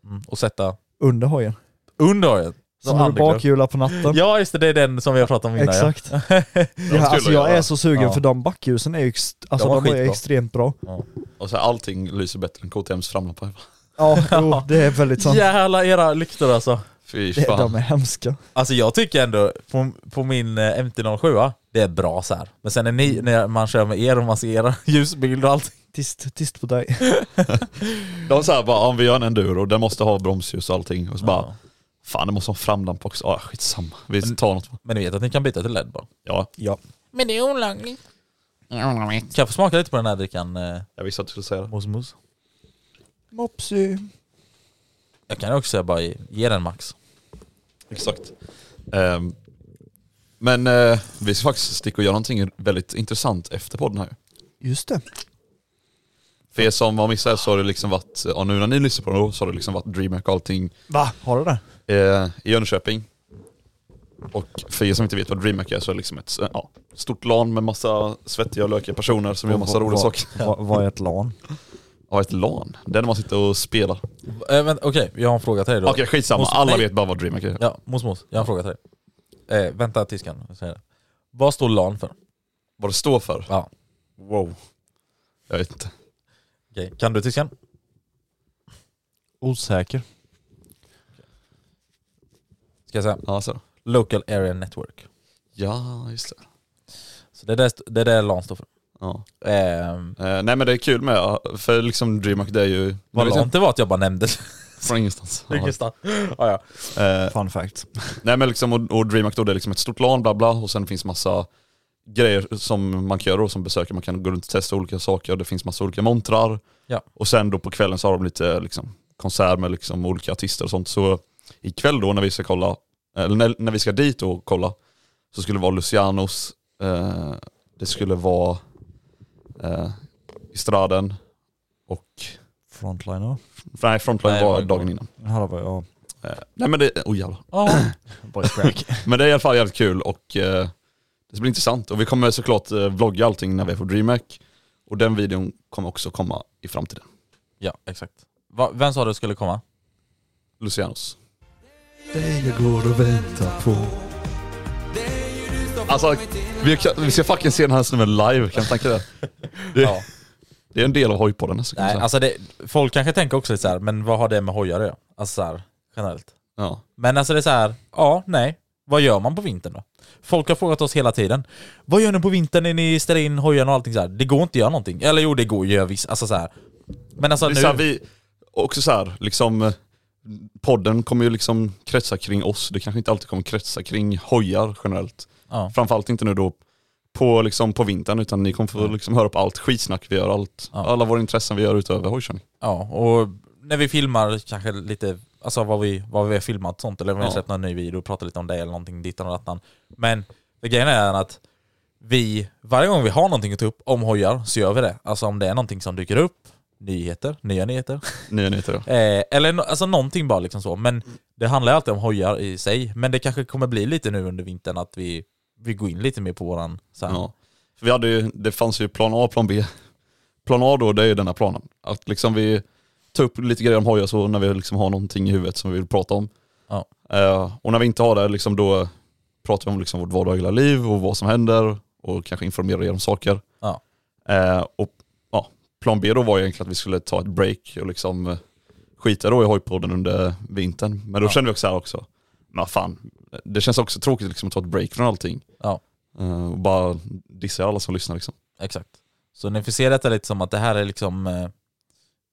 Speaker 3: Mm. Och sätta
Speaker 4: under hojen.
Speaker 3: under hojen.
Speaker 4: Som du
Speaker 3: underglöd.
Speaker 4: bakhjular på natten.
Speaker 3: Ja just det, det är den som vi har pratat om innan.
Speaker 4: Exakt.
Speaker 3: Ja.
Speaker 4: Ja,
Speaker 5: skulle
Speaker 4: alltså
Speaker 5: jag
Speaker 4: jag är
Speaker 5: göra.
Speaker 4: så sugen
Speaker 3: Ja.
Speaker 4: för de backljusen är ju ex- alltså,
Speaker 3: De var
Speaker 4: de är
Speaker 3: skitbra.
Speaker 4: extremt bra.
Speaker 5: Och så här, allting lyser bättre än KTMs framlampor.
Speaker 4: Ja, jo, det är väldigt sant.
Speaker 3: Jävla era lyktor alltså.
Speaker 5: Fy
Speaker 4: Det,
Speaker 5: fan.
Speaker 4: de är hemska.
Speaker 3: Alltså jag tycker ändå, på, på min eh, MT-07, det är bra så här. Men sen när, ni, när man kör med er och man ser era ljusbild och allting.
Speaker 4: Tyst, tyst på dig.
Speaker 5: De såhär bara, om vi gör en enduro, den måste ha bromsljus och allting. Och så bara,
Speaker 3: Ja.
Speaker 5: fan den måste ha framlampa också. Ah, skitsamma, vi tar något.
Speaker 3: Men ni vet att ni kan byta till LED bara.
Speaker 5: Ja,
Speaker 3: Men det är olagligt. Kan jag få smaka lite på den här drickan? Eh,
Speaker 5: jag visste att du skulle säga det.
Speaker 3: mos, mos?
Speaker 4: Mopsy.
Speaker 3: Jag kan ju också säga bara ge, ge den max.
Speaker 5: Exakt. Ehm, men eh, vi ska faktiskt sticka och göra någonting väldigt intressant efter podden här.
Speaker 4: Just det.
Speaker 5: För er som har missat det så har det liksom varit, ja nu när ni lyssnar på det då, så har det liksom varit DreamHack och allting
Speaker 4: Va? Har du det?
Speaker 5: eh, i Jönköping. Och för er som inte vet vad DreamHack är så är det liksom ett eh, ja, stort LAN med massa svettiga och lökiga personer som gör massa roliga saker.
Speaker 4: Vad vad är ett LAN?
Speaker 5: Ja, ett LAN. Där man sitter och spelar. Okej,
Speaker 3: Eh, men Okej, jag har en fråga till dig då.
Speaker 5: skitsamma.
Speaker 3: Måste-
Speaker 5: Alla
Speaker 3: nej.
Speaker 5: vet bara vad DreamHack är.
Speaker 3: Ja, mos, mos. Jag har en fråga till dig. Eh, vänta tyskan, jag säger det. Vad står LAN för?
Speaker 5: Vad det står för.
Speaker 3: Ja.
Speaker 5: Wow. Jag vet inte.
Speaker 3: Okej. Kan du tyskan?
Speaker 4: Osäker.
Speaker 3: Ska jag säga.
Speaker 5: Ja, så.
Speaker 3: Local Area Network.
Speaker 5: ja just det.
Speaker 3: Så det är det, det, är det LAN står för.
Speaker 5: Ja.
Speaker 3: Ehm,
Speaker 5: Eh, nej men det är kul med, för liksom DreamHack det är ju...
Speaker 3: vad
Speaker 5: Liksom,
Speaker 3: lant det var att jag bara nämnde
Speaker 5: Från ingenstans. Ja.
Speaker 3: Lyckestad. ja, ja.
Speaker 5: Eh,
Speaker 4: Fun fact.
Speaker 5: nej men liksom, och, och DreamHack då det är liksom ett stort LAN bla bla och sen finns massa grejer som man kan göra då som besökare. Man kan gå runt och testa olika saker och det finns massa olika montrar.
Speaker 3: Ja.
Speaker 5: Och sen då på kvällen så har de lite liksom, konsert med liksom, olika artister och sånt. Så ikväll då när vi ska kolla, eller när, när vi ska dit och kolla, så skulle det vara Lucianos, eh, det skulle vara eh, Straden och,
Speaker 4: Frontliner.
Speaker 5: nej Frontline
Speaker 3: Nej, det var
Speaker 5: var
Speaker 3: igår.
Speaker 5: dagen innan.
Speaker 4: Här var jag.
Speaker 5: Eh, nej men det, oh jävlar.
Speaker 3: Ja.
Speaker 4: Boys crack.
Speaker 5: Men det är i alla fall jävligt kul och eh, det blir intressant. Och vi kommer såklart eh, vlogga allting när vi är på DreamHack. Och den videon kommer också komma i framtiden.
Speaker 3: ja, exakt. Va, vem sa du skulle komma?
Speaker 5: Lucianos.
Speaker 4: Det jag går och väntar på.
Speaker 5: Alltså, vi, kan, vi ska fucking se den här snubben live, kan du tänka det? Det,
Speaker 3: Ja.
Speaker 5: det är en del av hojpodden nästan. kan man
Speaker 3: Nej,
Speaker 5: säga.
Speaker 3: alltså det, folk kanske tänker också lite så här, men vad har det med hojar att göra? Alltså så här, generellt.
Speaker 5: ja.
Speaker 3: Men alltså det är så här, ja, nej. Vad gör man på vintern då? Folk har frågat oss hela tiden. Vad gör ni på vintern när ni ställer in hojarna och allting så här? Det går inte att göra någonting. Eller jo, det går ju att göra visst. Alltså så här. Men alltså
Speaker 5: Det är så här,
Speaker 3: nu...
Speaker 5: vi, också så här, liksom, eh, podden kommer ju liksom kretsa kring oss. Det kanske inte alltid kommer kretsa kring hojar generellt.
Speaker 3: Ja.
Speaker 5: Framförallt inte nu då på, liksom, på vintern, utan ni kommer få liksom, höra på allt skitsnack vi gör, allt,
Speaker 3: Ja.
Speaker 5: alla våra intressen vi gör utöver hojkörning.
Speaker 3: Ja, och när vi filmar kanske lite, alltså vad vi, vad vi har filmat och sånt, eller om vi har
Speaker 5: Ja.
Speaker 3: släppt någon ny video och pratat lite om det eller någonting dittan och dattan. Men det grejen är att vi, varje gång vi har någonting att ta upp om hojar så gör vi det. Alltså om det är någonting som dyker upp, nyheter, nya nyheter.
Speaker 5: Nya nyheter ja.
Speaker 3: Eh, eller no- alltså någonting bara liksom så. Men det handlar ju alltid om hojar i sig. Men det kanske kommer bli lite nu under vintern att vi, vi går in lite mer på våran så här,
Speaker 5: Ja. För vi hade ju, det fanns ju plan A och plan B. Plan A då, det är ju denna planen. Att liksom vi tar upp lite grejer om hojar så när vi liksom har någonting i huvudet som vi vill prata om.
Speaker 3: Ja.
Speaker 5: Eh, och när vi inte har det, liksom då pratar vi om liksom vårt vardagliga liv och vad som händer och kanske informerar er om saker.
Speaker 3: Ja.
Speaker 5: Eh, och ja, plan B då var ju egentligen att vi skulle ta ett break och liksom eh, skita då i hojpodden under vintern. Men då
Speaker 3: Ja.
Speaker 5: kände vi också här också, men vad fan, det känns också tråkigt liksom att ta ett break från allting.
Speaker 3: Ja.
Speaker 5: Eh, och bara dissa alla som lyssnar liksom.
Speaker 3: Exakt. Så ni får se detta lite som att det här är liksom... eh,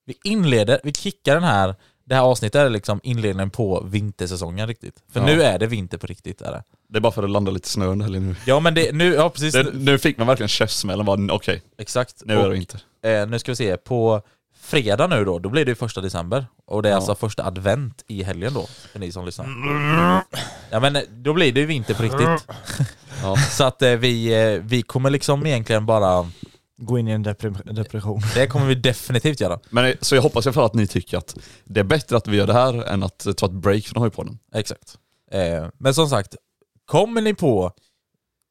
Speaker 3: Vi inleder, vi kickar den här... Det här avsnittet är liksom inledningen på vintersäsongen riktigt. För
Speaker 5: Ja.
Speaker 3: nu är det vinter på riktigt. Är det.
Speaker 5: Det är bara för att det landar lite snö under helgen nu.
Speaker 3: Ja men det, nu, ja precis.
Speaker 5: Det, nu fick man verkligen käftsmällen, bara, okej,
Speaker 3: exakt.
Speaker 5: nu är det inte.
Speaker 3: Och, eh, nu ska vi se, på fredag nu då, då blir det ju första december. Och det är
Speaker 5: Ja.
Speaker 3: alltså första advent
Speaker 5: Mm.
Speaker 3: i helgen då, för ni som lyssnar. Ja men eh, då blir det ju vinter på riktigt.
Speaker 5: Ja.
Speaker 3: Så att eh, vi, eh, vi kommer liksom egentligen bara,
Speaker 4: Gå in i en depre- depression.
Speaker 3: det kommer vi definitivt göra.
Speaker 5: Men, eh, så jag hoppas i alla fall att ni tycker att det är bättre att vi gör det här än att eh, ta ett break från Hojpodden.
Speaker 3: Exakt. Eh, men som sagt, kommer ni på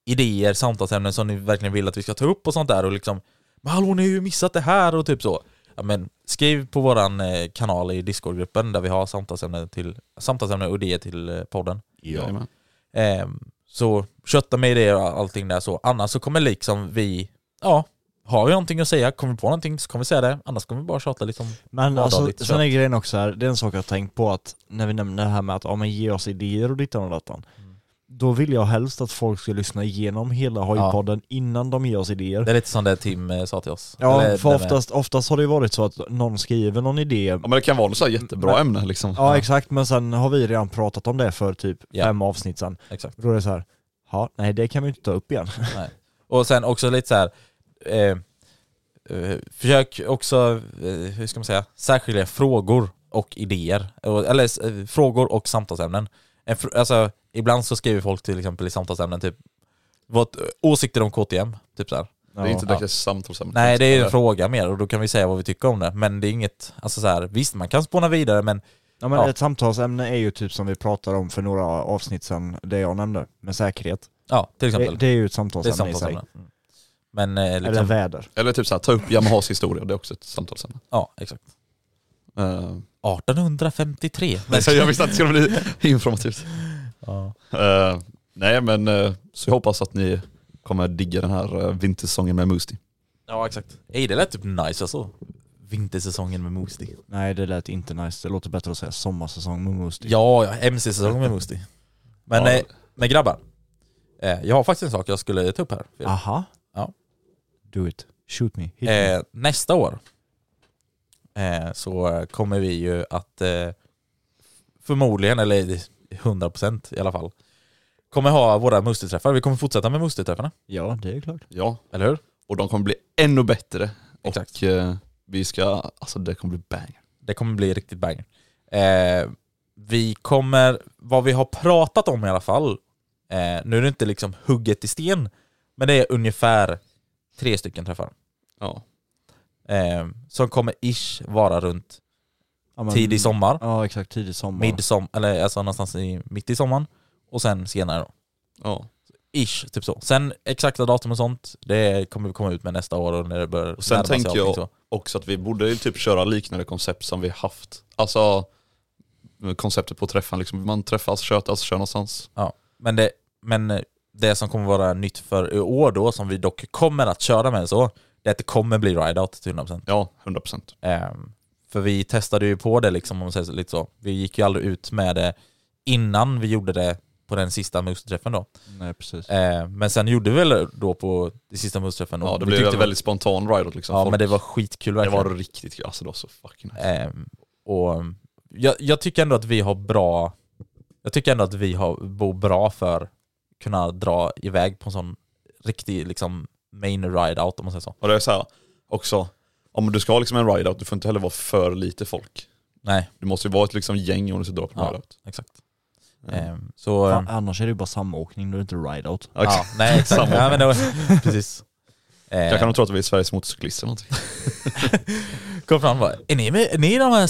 Speaker 3: idéer, samtalsämnen som ni verkligen vill att vi ska ta upp och sånt där och liksom Men hallå ni har ju missat det här och typ så. Ja, men skriv på våran eh, kanal i Discord-gruppen där vi har samtalsämnen, till, samtalsämnen och idéer till eh, podden.
Speaker 5: Jajamän.
Speaker 3: Eh, så kötta med idéer och allting där så. Annars så kommer liksom vi, ja, har vi någonting att säga, kommer vi på någonting så kommer vi säga det. Annars kommer vi bara tjata liksom. lite om
Speaker 4: Men alltså,
Speaker 3: vardagligt
Speaker 4: sen är grejen också här, det är en sak jag har tänkt på att när vi nämner det här med att ja, men ge oss idéer och dittan och dattan.
Speaker 3: Mm.
Speaker 4: Då vill jag helst att folk ska lyssna igenom hela hojpodden innan de ger oss idéer.
Speaker 3: Det är lite som det Tim eh, sa till oss.
Speaker 4: Ja,
Speaker 3: Eller
Speaker 4: för
Speaker 3: det med-
Speaker 4: oftast, oftast har det ju varit så att någon skriver någon idé.
Speaker 5: Ja men det kan vara något så här jättebra
Speaker 4: Men-
Speaker 5: ämne liksom.
Speaker 4: Ja exakt, men sen har vi redan pratat om det för typ
Speaker 3: Ja.
Speaker 4: fem avsnitt sen.
Speaker 3: Exakt.
Speaker 4: Då är det så här, ja, nej det kan vi inte ta upp igen.
Speaker 3: Och sen också lite så här. Eh, eh, försök också, eh, hur ska man säga, särskilja frågor och idéer. Och- Eller eh, frågor och samtalsämnen. En, fr- alltså, ibland så skriver folk till exempel i samtalsämnen typ vad, eh, åsikter om KTM, typ så här.
Speaker 5: Det är inte
Speaker 3: Ja.
Speaker 5: direkt ett samtalsämne.
Speaker 3: Nej det är
Speaker 5: Eller-
Speaker 3: en fråga mer och då kan vi säga vad vi tycker om det. Men det är inget, alltså så här, visst man kan spåna vidare men
Speaker 4: Ja men
Speaker 3: Ja.
Speaker 4: ett samtalsämne är ju typ som vi pratade om för några avsnitt sen, det jag nämnde, med säkerhet.
Speaker 3: ja till
Speaker 4: Det,
Speaker 3: exempel.
Speaker 4: det är ju ett
Speaker 3: Det är
Speaker 4: samtalsämne, i
Speaker 3: samtalsämnen.
Speaker 4: sig.
Speaker 3: Mm. Men eh,
Speaker 4: Eller
Speaker 3: liksom,
Speaker 4: väder.
Speaker 5: Eller typ såhär, ta upp Yamahas historia, det är också ett samtalsämne.
Speaker 3: ja exakt.
Speaker 5: Eh,
Speaker 3: 1853.
Speaker 5: Nej, så jag visste att det skulle bli informativt.
Speaker 3: Ja.
Speaker 5: Eh, nej men, eh, så jag hoppas att ni kommer digga den här eh, vintersäsongen med Moosty.
Speaker 3: Ja exakt. Ey det lät typ nice alltså. Vintersäsongen med Moosty.
Speaker 4: Nej det lät inte nice, det låter bättre att säga sommarsäsong med Moosty.
Speaker 3: Ja, ja MC-säsongen med Moosty. Men,
Speaker 5: Ja.
Speaker 3: eh, men grabbar. Eh, jag har faktiskt en sak jag skulle ta upp här. för er.
Speaker 4: Aha.
Speaker 3: Ja.
Speaker 4: Do it. Shoot me. Ah, Hit me.
Speaker 3: Eh, nästa år eh, så kommer vi ju att eh, förmodligen, eller 100% i alla fall, kommer ha våra Moosty-träffar. Vi kommer fortsätta med Moosty-träffarna,
Speaker 4: Ja det är klart.
Speaker 5: Ja,
Speaker 3: eller hur?
Speaker 5: och de kommer bli ännu bättre.
Speaker 3: Exakt.
Speaker 5: Och eh, vi ska, alltså det kommer bli bang.
Speaker 3: Det kommer bli riktigt bang. Eh, vi kommer, vad vi har pratat om i alla fall, eh, nu är det inte liksom hugget i sten, men det är ungefär tre stycken träffar.
Speaker 5: Ja.
Speaker 3: Eh, som kommer ish vara runt
Speaker 4: Ja, men-
Speaker 3: tidig sommar,
Speaker 4: Ja exakt, tidig sommar.
Speaker 3: midsom, eller alltså någonstans i, mitt i sommaren, och sen senare då.
Speaker 5: ja.
Speaker 3: Ish, typ så. Sen exakta datum och sånt, det kommer vi komma ut med nästa år och när det börjar
Speaker 5: Och sen
Speaker 3: närma sig
Speaker 5: tänker jag-
Speaker 3: allting så.
Speaker 5: Också att vi borde ju typ köra liknande koncept som vi haft. Alltså konceptet på träffen liksom, man träffas, tjötas, kör någonstans.
Speaker 3: Men det, men det som kommer vara nytt för i år då, som vi dock kommer att köra med så, det är att det kommer bli ride-out till 100%.
Speaker 5: Ja, 100%.
Speaker 3: Ehm, för vi testade ju på det liksom, om man säger så, lite så. Vi gick ju aldrig ut med det innan vi gjorde det på den sista Moose-träffen då.
Speaker 4: Nej precis.
Speaker 3: Ehm, men sen gjorde vi väl det då på den sista Moose-träffen. och
Speaker 5: Ja, det
Speaker 3: vi
Speaker 5: blev
Speaker 3: tyckte
Speaker 5: en väldigt spontan ride liksom.
Speaker 3: Ja,
Speaker 5: Folk-
Speaker 3: men det var skitkul
Speaker 5: det
Speaker 3: verkligen.
Speaker 5: var riktigt kul. Alltså det var så fucking nice.
Speaker 3: Ehm, och jag, jag tycker ändå att vi har bra Jag tycker ändå att vi har bor bra för kunna dra iväg på en sån riktig liksom main ride out om man säger så.
Speaker 5: Och det är så här också, om du ska ha liksom en ride-out, du får inte heller vara för lite folk.
Speaker 3: Nej,
Speaker 5: Du måste ju vara ett liksom gäng om du ska dra på
Speaker 3: Ja.
Speaker 5: en ride-out.
Speaker 3: exakt.
Speaker 5: Mm.
Speaker 3: Ehm, så
Speaker 4: Fan, annars är det ju bara samåkning, då är det inte ride-out.
Speaker 5: Ja, exakt.
Speaker 3: ja, nej exakt. ja, men det var, precis. Ehm,
Speaker 5: Jag kan nog tro att vi är Sveriges motorcyklister eller någonting.
Speaker 3: kom fram och bara, är ni, med, är ni de här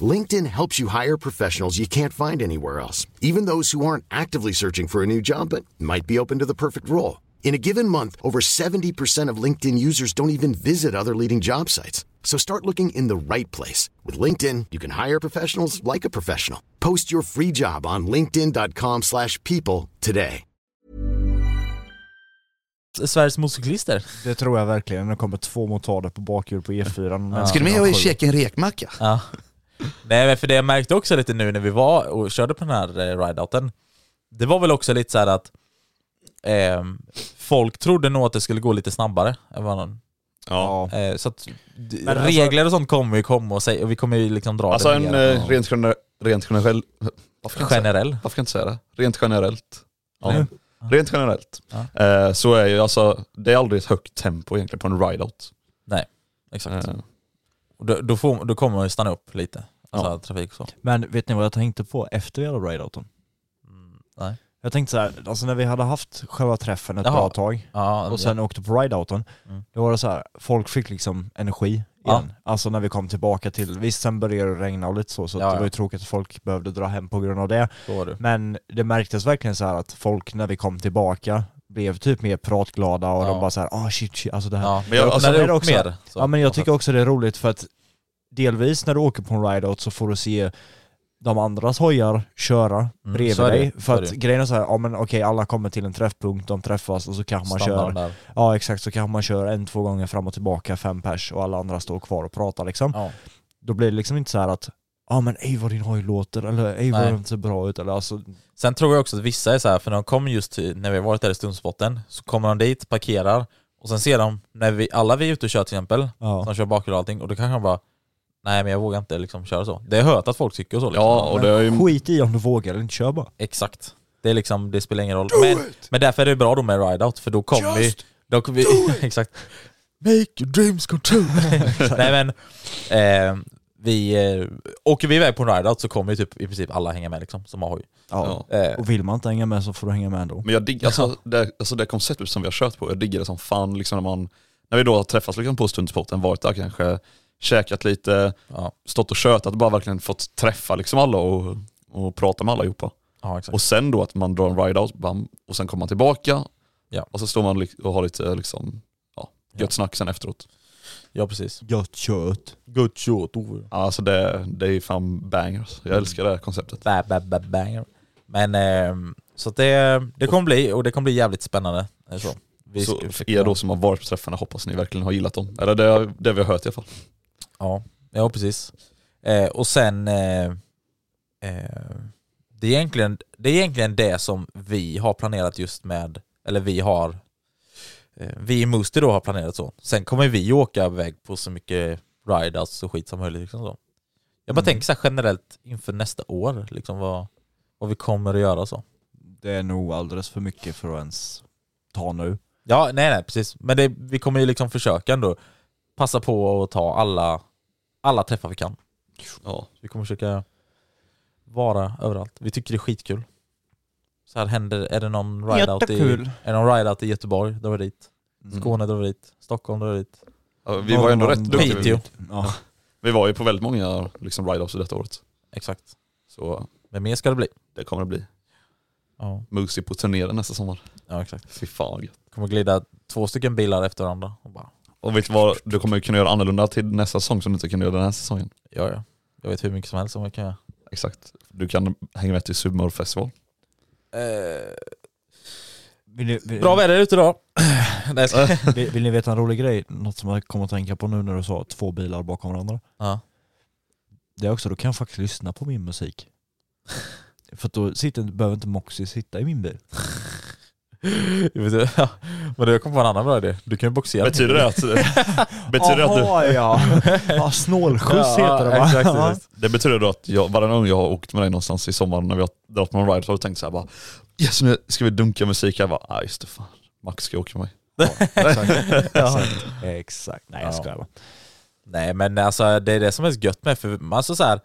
Speaker 6: LinkedIn helps you hire professionals you can't find anywhere else, even those who aren't actively searching for a new job but might be open to the perfect role. In a given month, over 70% of LinkedIn users don't even visit other leading job sites. So start looking in the right place. With LinkedIn, you can hire professionals like a professional. Post your free job on linkedin.com/people slash people today.
Speaker 3: Sveriges motorcyklister.
Speaker 4: Det tror jag verkligen. Det kommer två motarder på bakhjul på E E4.
Speaker 3: Ja.
Speaker 7: Ska du med och käka en rekmacka?
Speaker 3: Ja. Nej men för det jag märkte också lite nu när vi var och körde på den här eh, rideouten, det var väl också lite så här att ehm, folk trodde nog att det skulle gå lite snabbare än vad någon.
Speaker 5: Ja.
Speaker 3: Eh, så att d-
Speaker 4: Men alltså-
Speaker 3: regler och sånt kommer ju komma och, säga, och vi kommer ju liksom dra
Speaker 5: Alltså
Speaker 3: det
Speaker 5: en
Speaker 3: mer.
Speaker 5: eh, rent, gener- rent generell... Varför kan jag säga-
Speaker 3: generell.
Speaker 5: varför kan jag inte säga det? Rent generellt. Ja.
Speaker 3: Nej.
Speaker 5: Rent generellt.
Speaker 3: Ja.
Speaker 5: Eh, så är ju alltså, det är aldrig ett högt tempo egentligen på en rideout.
Speaker 3: Exakt.
Speaker 5: Eh,
Speaker 3: Och då, då, får, då kommer man ju stanna upp lite. Alltså
Speaker 5: Ja.
Speaker 3: trafik och så.
Speaker 4: Men vet ni vad jag tänkte på efter vi hade rideouten?
Speaker 3: Mm, nej.
Speaker 4: Jag tänkte så här, alltså när vi hade haft själva träffen ett
Speaker 3: Jaha.
Speaker 4: bra tag
Speaker 3: Ja,
Speaker 4: och sen åkte på rideouten,
Speaker 3: Mm.
Speaker 4: då var det så här, folk fick liksom energi igen.
Speaker 3: Ja.
Speaker 4: Alltså när vi kom tillbaka till, visst sen började det regna och lite så, så att
Speaker 3: Ja,
Speaker 4: det
Speaker 3: ja.
Speaker 4: var ju tråkigt att folk behövde dra hem på grund av det.
Speaker 3: så var det.
Speaker 4: Men det märktes verkligen så här att folk när vi kom tillbaka blev typ mer pratglada och
Speaker 3: Ja.
Speaker 4: de bara så här, ah shit, shit, alltså det här. Ja,
Speaker 3: Ja,
Speaker 5: Men jag-
Speaker 3: jag
Speaker 5: alltså,
Speaker 3: öppnade
Speaker 4: det är
Speaker 3: upp
Speaker 4: också-
Speaker 3: mer. så.
Speaker 4: men jag tycker också det är roligt för att delvis när du åker på en rideout så får du se de andras hojar köra
Speaker 3: Mm,
Speaker 4: bredvid
Speaker 3: så är det.
Speaker 4: dig.
Speaker 3: Så
Speaker 4: För
Speaker 3: är
Speaker 4: att
Speaker 3: det.
Speaker 4: grejen är så här, ja men okej alla kommer till en träffpunkt, de träffas och så kanske man
Speaker 3: Stannar
Speaker 4: kör,
Speaker 3: där.
Speaker 4: ja exakt så kanske man kör en, två gånger fram och tillbaka, fem pers och alla andra står kvar och pratar liksom.
Speaker 3: Ja.
Speaker 4: Då blir det liksom inte så här att ja men ej vad din hoj låter eller ej vad
Speaker 3: Nej.
Speaker 4: den ser bra ut eller alltså
Speaker 3: Sen tror jag också att vissa är så här, för när de kommer just till, när vi har varit där i stundspotten, så kommer de dit, parkerar, och sen ser de, när vi, alla vi är ute och kör till exempel,
Speaker 4: ja.
Speaker 3: som kör bakhjul och allting, och då kanske de bara Nej men jag vågar inte liksom köra så. Det är hört att folk tycker så liksom.
Speaker 5: ja, och det är ju...
Speaker 4: Skit i om du vågar eller inte, kör bara.
Speaker 3: Exakt. Det är liksom, det spelar ingen roll. Men, men därför är det bra då med ride-out, för då kommer vi... Då kommer vi exakt. Make your dreams come true! Nej men, eh, vi... Eh, åker vi iväg på en ride-out så kommer ju typ i princip alla hänga med liksom, som har hoj.
Speaker 4: Ja.
Speaker 3: Eh,
Speaker 4: Och vill man inte hänga med så får du hänga med ändå.
Speaker 5: Men jag diggar, alltså, det, alltså det konceptet som vi har kört på, jag diggar det som fan liksom när man, när vi då har träffats liksom på stundspoten, varit där kanske, käkat lite,
Speaker 3: ja,
Speaker 5: stått och tjötat, bara verkligen fått träffa liksom alla och, och prata med allihopa.
Speaker 3: ja, exakt.
Speaker 5: Och sen då att man drar en ride-out, bam, och sen kommer man tillbaka,
Speaker 3: Ja.
Speaker 5: och så står man li- och har lite liksom, ja, gött
Speaker 3: Ja.
Speaker 5: snack sen efteråt.
Speaker 3: Ja precis.
Speaker 4: Gött kött.
Speaker 3: Gött shot over.
Speaker 5: Alltså det, det är fan bangers, jag älskar det här konceptet.
Speaker 3: Ba, ba, ba, banger. Men ehm, så att det, det kommer bli, och det kommer bli jävligt spännande. eh, Så. Vi
Speaker 5: Så
Speaker 3: ska-
Speaker 5: för er då som har varit på träffarna hoppas ni verkligen har gillat dem. Eller det, det vi har hört i alla fall.
Speaker 3: Ja, ja precis. Eh, och sen, eh, eh, det, är egentligen, det är egentligen det som vi har planerat just med, eller vi har, eh, vi i Musti då har planerat så. Sen kommer vi åka iväg på så mycket rideouts och skit som möjligt. Liksom så. Jag bara
Speaker 4: Mm.
Speaker 3: tänker så här generellt inför nästa år, liksom vad, vad vi kommer att göra så.
Speaker 4: Det är nog alldeles för mycket för att ens ta nu.
Speaker 3: Ja, nej nej precis. Men det, vi kommer ju liksom försöka ändå passa på att ta alla, alla träffar vi kan.
Speaker 5: Ja.
Speaker 3: Vi kommer försöka vara överallt. Vi tycker det är skitkul. Så här händer, är det någon ride-out i,
Speaker 4: Jättekul.
Speaker 3: är det någon ride-out i Göteborg, drar vi dit. Skåne drar vi dit. Stockholm drar vi dit.
Speaker 5: Ja, Vi var ju ändå rätt
Speaker 4: Norrland,
Speaker 5: duktiga.
Speaker 3: Piteå.
Speaker 5: Vi,
Speaker 4: Ja.
Speaker 5: vi var ju på väldigt många liksom, ride-offs detta året.
Speaker 3: Exakt.
Speaker 5: Så
Speaker 3: Men mer ska det bli.
Speaker 5: det kommer att bli.
Speaker 3: Ja,
Speaker 5: Moosey på turné nästa sommar.
Speaker 3: ja exakt.
Speaker 5: Fy fan vad gött.
Speaker 3: Kommer glida två stycken bilar efter varandra. Och bara,
Speaker 5: Och vet du vad du kommer kunna göra annorlunda till nästa säsong som du inte kunde göra den här säsongen?
Speaker 3: ja ja. Jag vet hur mycket som helst om jag kan göra.
Speaker 5: Exakt. Du kan hänga med till Submore Festival.
Speaker 4: Vill, ni, vill,
Speaker 3: Bra väder ute idag. Nej, jag skojar.
Speaker 4: vill, vill ni veta en rolig grej? Något som jag kommer att tänka på nu när du sa två bilar bakom varandra.
Speaker 3: ja.
Speaker 4: Det är också, då kan jag faktiskt lyssna på min musik. För att då sitter, behöver inte Moxie sitta i min bil.
Speaker 3: Jag vet inte. Men jag kom på en annan bra idé. Du kan ju boxera.
Speaker 5: Betyder det att, betyder det att
Speaker 4: Aha, ja. ja snålskjuts
Speaker 3: Ja,
Speaker 4: heter det va?
Speaker 3: exakt,
Speaker 4: Ja.
Speaker 3: exakt.
Speaker 5: du, det betyder då att jag, varje gång jag har åkt med dig någonstans i sommar när vi har dragit på en ride så har du tänkt så här bara Yes nu ska vi dunka musik, jag bara ah, just det fan. Max ska åka med mig.
Speaker 4: Exakt. Exakt. Nej jag
Speaker 3: Ja.
Speaker 4: skojar bara.
Speaker 3: Nej men alltså det är det som är så gött med, för alltså, så här,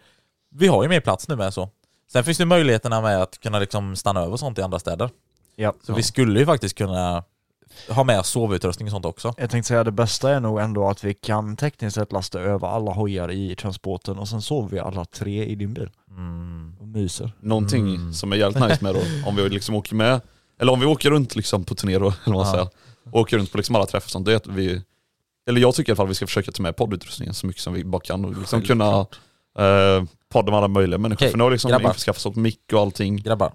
Speaker 3: vi har ju mer plats nu med så. Sen finns det ju möjligheterna med att kunna liksom stanna över och sånt i andra städer.
Speaker 4: Ja.
Speaker 3: Så vi skulle ju faktiskt kunna ha med sovutrustning och sånt också.
Speaker 4: Jag tänkte säga det bästa är nog ändå att vi kan tekniskt sett lasta över alla hojar i transporten och sen sover vi alla tre i din bil
Speaker 3: Mm.
Speaker 4: och myser.
Speaker 5: Någonting
Speaker 3: Mm.
Speaker 5: som är jävligt nice med då, om vi liksom åker med, eller om vi åker runt liksom på turné då, eller vad man
Speaker 3: Ja.
Speaker 5: säger, och åker runt på liksom alla träffar och sånt, det är att vi, eller jag tycker i alla fall att vi ska försöka ta med poddutrustningen så mycket som vi bara kan och liksom kunna eh, podda med alla möjliga människor.
Speaker 3: Okej,
Speaker 5: För nu har vi liksom
Speaker 3: grabbar.
Speaker 5: införskaffat sånt mick och allting.
Speaker 3: Grabbar,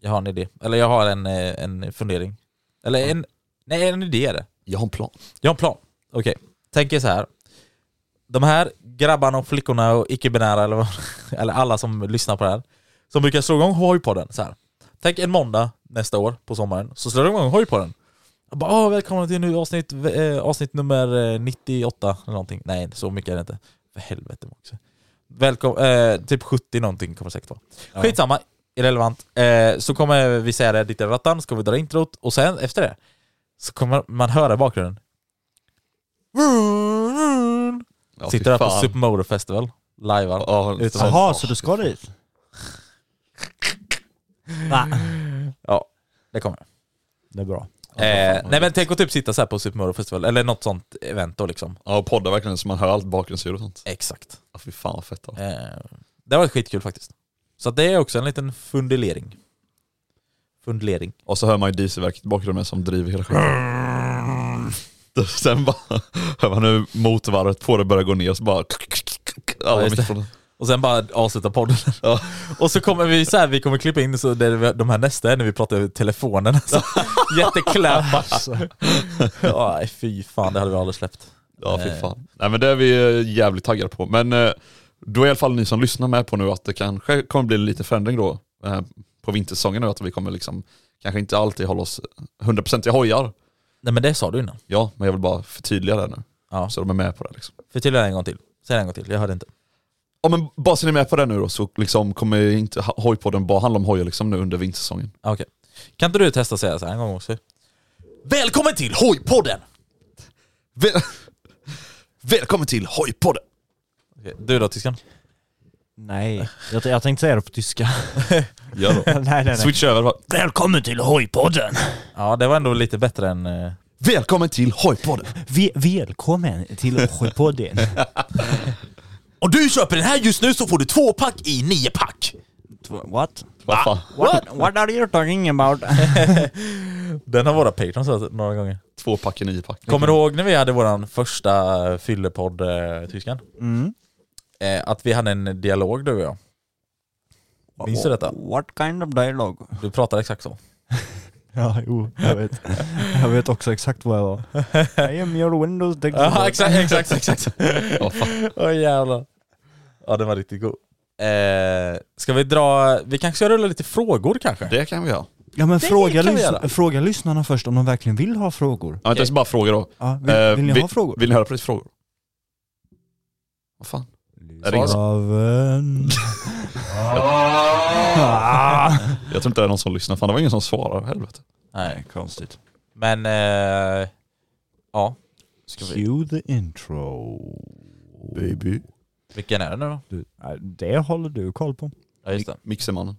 Speaker 3: jag har en idé. Eller jag har en, eh, en fundering. Eller en, Nej, en idé är det.
Speaker 5: Jag har en plan.
Speaker 3: Jag har en plan. Okej, tänk er så här. De här grabbarna och flickorna och icke-binära, eller, vad- eller alla som lyssnar på det här, som brukar slå igång Hojpodden så här. Tänk en måndag nästa år på sommaren, så slår de igång Hojpodden. Jag bara, "Åh, välkomna till nu avsnitt, eh, avsnitt nummer eh, 98 eller någonting. Nej, så mycket är det inte. För helvete också. Välkom, eh, typ 70 någonting kommer det säkert vara. Skitsamma, irrelevant. Eh, så kommer vi säga det dit i rattan, så kommer vi dra introt och sen efter det så kommer man höra i bakgrunden
Speaker 5: Ja,
Speaker 3: Sitter där på
Speaker 5: fan.
Speaker 3: Super Motor Festival, lajvar.
Speaker 5: Ja,
Speaker 3: utomhus.
Speaker 4: Jaha, så du ska dit? Nej,
Speaker 3: Ja, det kommer.
Speaker 4: det är bra.
Speaker 3: Eh, nej men tänk att typ sitta så här på Super Motor Festival, eller något sånt event då liksom.
Speaker 5: Ja, och poddar verkligen så man hör allt bakgrundsljud och sånt.
Speaker 3: Exakt.
Speaker 5: Ja, fy fan vad fett. Då.
Speaker 3: Eh, det var skitkul faktiskt. Så att det är också en liten fundering. Fundering.
Speaker 5: Och så hör man ju dieselverket i bakgrunden som driver hela skiten. Sen bara hör man hur motorvarvet på det börjar gå ner så bara... Alla
Speaker 3: Ja, just det.
Speaker 5: mitt från
Speaker 3: Och sen bara avsluta podden.
Speaker 5: Ja.
Speaker 3: Och så kommer vi så här, vi kommer klippa in så där vi- de här nästa är när vi pratar över telefonen. Alltså. Jättekläm.
Speaker 4: Alltså.
Speaker 3: Ja, nej, fy fan, det hade vi aldrig släppt.
Speaker 5: Ja, fy
Speaker 3: Eh.
Speaker 5: fan. Nej men det är vi eh, jävligt taggade på. Men eh, då är i alla fall ni som lyssnar med på nu att det kanske kommer bli lite förändring då eh, på vintersäsongen nu. Att vi kommer liksom kanske inte alltid hålla oss 100% i hojar.
Speaker 3: Nej men det sa du innan.
Speaker 5: Ja, men jag vill bara förtydliga det nu.
Speaker 3: Ja.
Speaker 5: Så de är med på det liksom.
Speaker 3: Förtydliga det en gång till. Säg det en gång till, jag hörde inte.
Speaker 5: Ja men bara så ni är med på det nu då så liksom kommer ju inte ha- hojpodden bara handla om hojar liksom nu under vintersäsongen.
Speaker 3: Ah, Okej. Kan inte du testa att säga så här en gång också? Välkommen till Hojpodden!
Speaker 5: Väl- Välkommen till hojpodden!
Speaker 3: Okej, Du då tyskan?
Speaker 4: Nej, jag, jag tänkte säga det på tyska.
Speaker 5: Ja då.
Speaker 4: nej, nej, nej.
Speaker 5: Switch över bara.
Speaker 4: Välkommen till Hojpodden!
Speaker 3: Ja, det var ändå lite bättre än... eh,
Speaker 5: Välkommen till hojpodden!
Speaker 4: Välkommen till Hojpodden!
Speaker 3: Om du köper den här just nu så får du två pack i nio pack!
Speaker 4: What?
Speaker 5: Vad fan?
Speaker 4: What? What are you talking about?
Speaker 3: Den har våra patrons hört några gånger.
Speaker 5: Två pack i nio pack.
Speaker 3: Kommer du ihåg när vi hade vår första eh, fyllepodd, eh, tyskan?
Speaker 4: Mm.
Speaker 3: Eh, att vi hade en dialog du och jag. Minns du detta?
Speaker 4: What kind of dialogue?
Speaker 3: Du pratade exakt så.
Speaker 4: Ja, jo, jag vet. Jag vet också exakt vad jag var. I am your windows
Speaker 3: Ja, exakt, exakt, exakt.
Speaker 5: Ja, fan.
Speaker 3: Åh jävlar. Ja, den var riktigt god. Eh, ska vi dra... Vi kanske ska rulla lite frågor kanske?
Speaker 5: Det kan vi göra.
Speaker 4: Ja men
Speaker 3: Det
Speaker 4: fråga,
Speaker 3: kan vi
Speaker 4: lys-
Speaker 3: göra.
Speaker 4: fråga lyssnarna först om de verkligen vill ha frågor.
Speaker 5: Ja, vänta, jag ska bara fråga då.
Speaker 4: Ja, vill,
Speaker 5: Eh,
Speaker 4: vill ni
Speaker 5: vi-
Speaker 4: ha frågor?
Speaker 5: Vill ni höra på lite frågor? Vad fan? Är det ingen som,
Speaker 4: Raven. ah.
Speaker 5: jag tror inte det är någon som lyssnar. Fan det var ingen som svarade, helvete.
Speaker 3: Nej.
Speaker 4: Konstigt.
Speaker 3: Men... Eh, ja. Ska vi,
Speaker 4: Cue the intro.
Speaker 5: Baby.
Speaker 3: vilken är det nu då?
Speaker 4: Du, nej, det håller du koll på.
Speaker 3: Ja, just det.
Speaker 5: Mixermannen.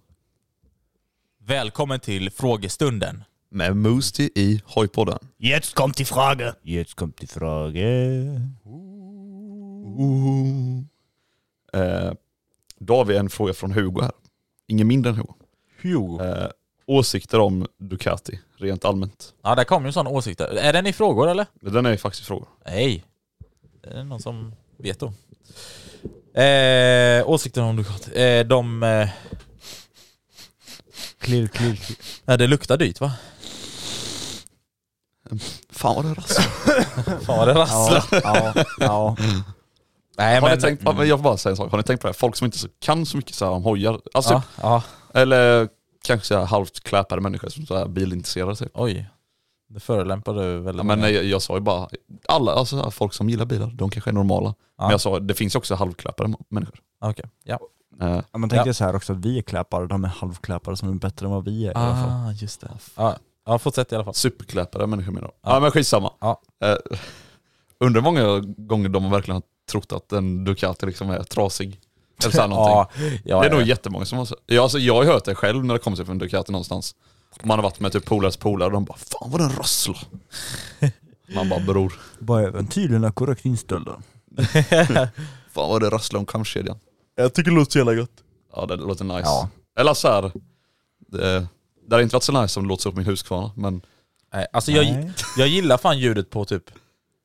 Speaker 3: Välkommen till frågestunden.
Speaker 5: Med Moosty i hojpodden.
Speaker 4: Jetzt kommt die Frage. Jetzt kommt die Frage.
Speaker 5: Eh, då har vi en fråga från Hugo här. Ingen mindre än Hugo.
Speaker 3: Hugo.
Speaker 5: Eh, åsikter om Ducati, rent allmänt.
Speaker 3: Ja, där kom ju en sån åsikt. där. Är den i frågor eller?
Speaker 5: Den är ju faktiskt frågor.
Speaker 3: Nej. Är det någon som vet då? Eh, åsikten om Ducati. Eh, de... Eh,
Speaker 4: Klirr, klirr, klirr.
Speaker 3: nej, det luktar dyrt va?
Speaker 5: Fan vad det rasslar.
Speaker 3: Fan vad det rasslar.
Speaker 4: Ja, ja, ja.
Speaker 5: Har ni
Speaker 3: Nej men... mm.
Speaker 5: tänkt, ja, men jag får bara säga en sak, har ni tänkt på det? här? Folk som inte så, kan så mycket så här om hojar, alltså,
Speaker 3: ja, ja.
Speaker 5: eller kanske så här halvt kläpade människor som så här bilintresserade typ.
Speaker 3: Oj. Det förolämpar du
Speaker 5: Ja,
Speaker 3: väldigt
Speaker 5: men
Speaker 3: många.
Speaker 5: jag, jag sa ju bara, alla, alltså folk som gillar bilar, de kanske är normala.
Speaker 3: Ja.
Speaker 5: Men jag sa, det finns ju också halvklappade m- människor.
Speaker 3: Okej. Ja.
Speaker 5: Eh,
Speaker 4: Ja, men
Speaker 3: Ja.
Speaker 4: tänk dig så här också att vi är kläpare, de är halvkläpare som är bättre än vad vi är i alla fall.
Speaker 3: Ah, just det. Ja, ja fortsätt i alla fall.
Speaker 5: superkläpade människor menar de.
Speaker 3: Ja.
Speaker 5: Ja. men skitsamma.
Speaker 3: Ja.
Speaker 5: Eh, undrar hur många gånger de verkligen har trott att en Ducati liksom är trasig. Eller såhär någonting.
Speaker 3: Ja, ja,
Speaker 5: det är
Speaker 3: ja.
Speaker 5: nog jättemånga som har sagt. Ja, alltså, jag har hört det själv när det kommer sig från Ducati någonstans. Man har varit med typ polares polare och de bara 'Fan vad den rasslar' Man bara 'Bror,
Speaker 4: Bara även tydligen är korrekt inställda.
Speaker 5: fan vad det rasslar om kamkedjan'
Speaker 4: Jag tycker det låter så jävla gött.
Speaker 5: Ja det låter nice.
Speaker 4: Ja.
Speaker 5: Eller såhär, det, det hade inte varit så nice om det låter så på min Husqvarna men
Speaker 3: Nej, alltså jag,
Speaker 4: Nej.
Speaker 3: jag gillar fan ljudet på typ...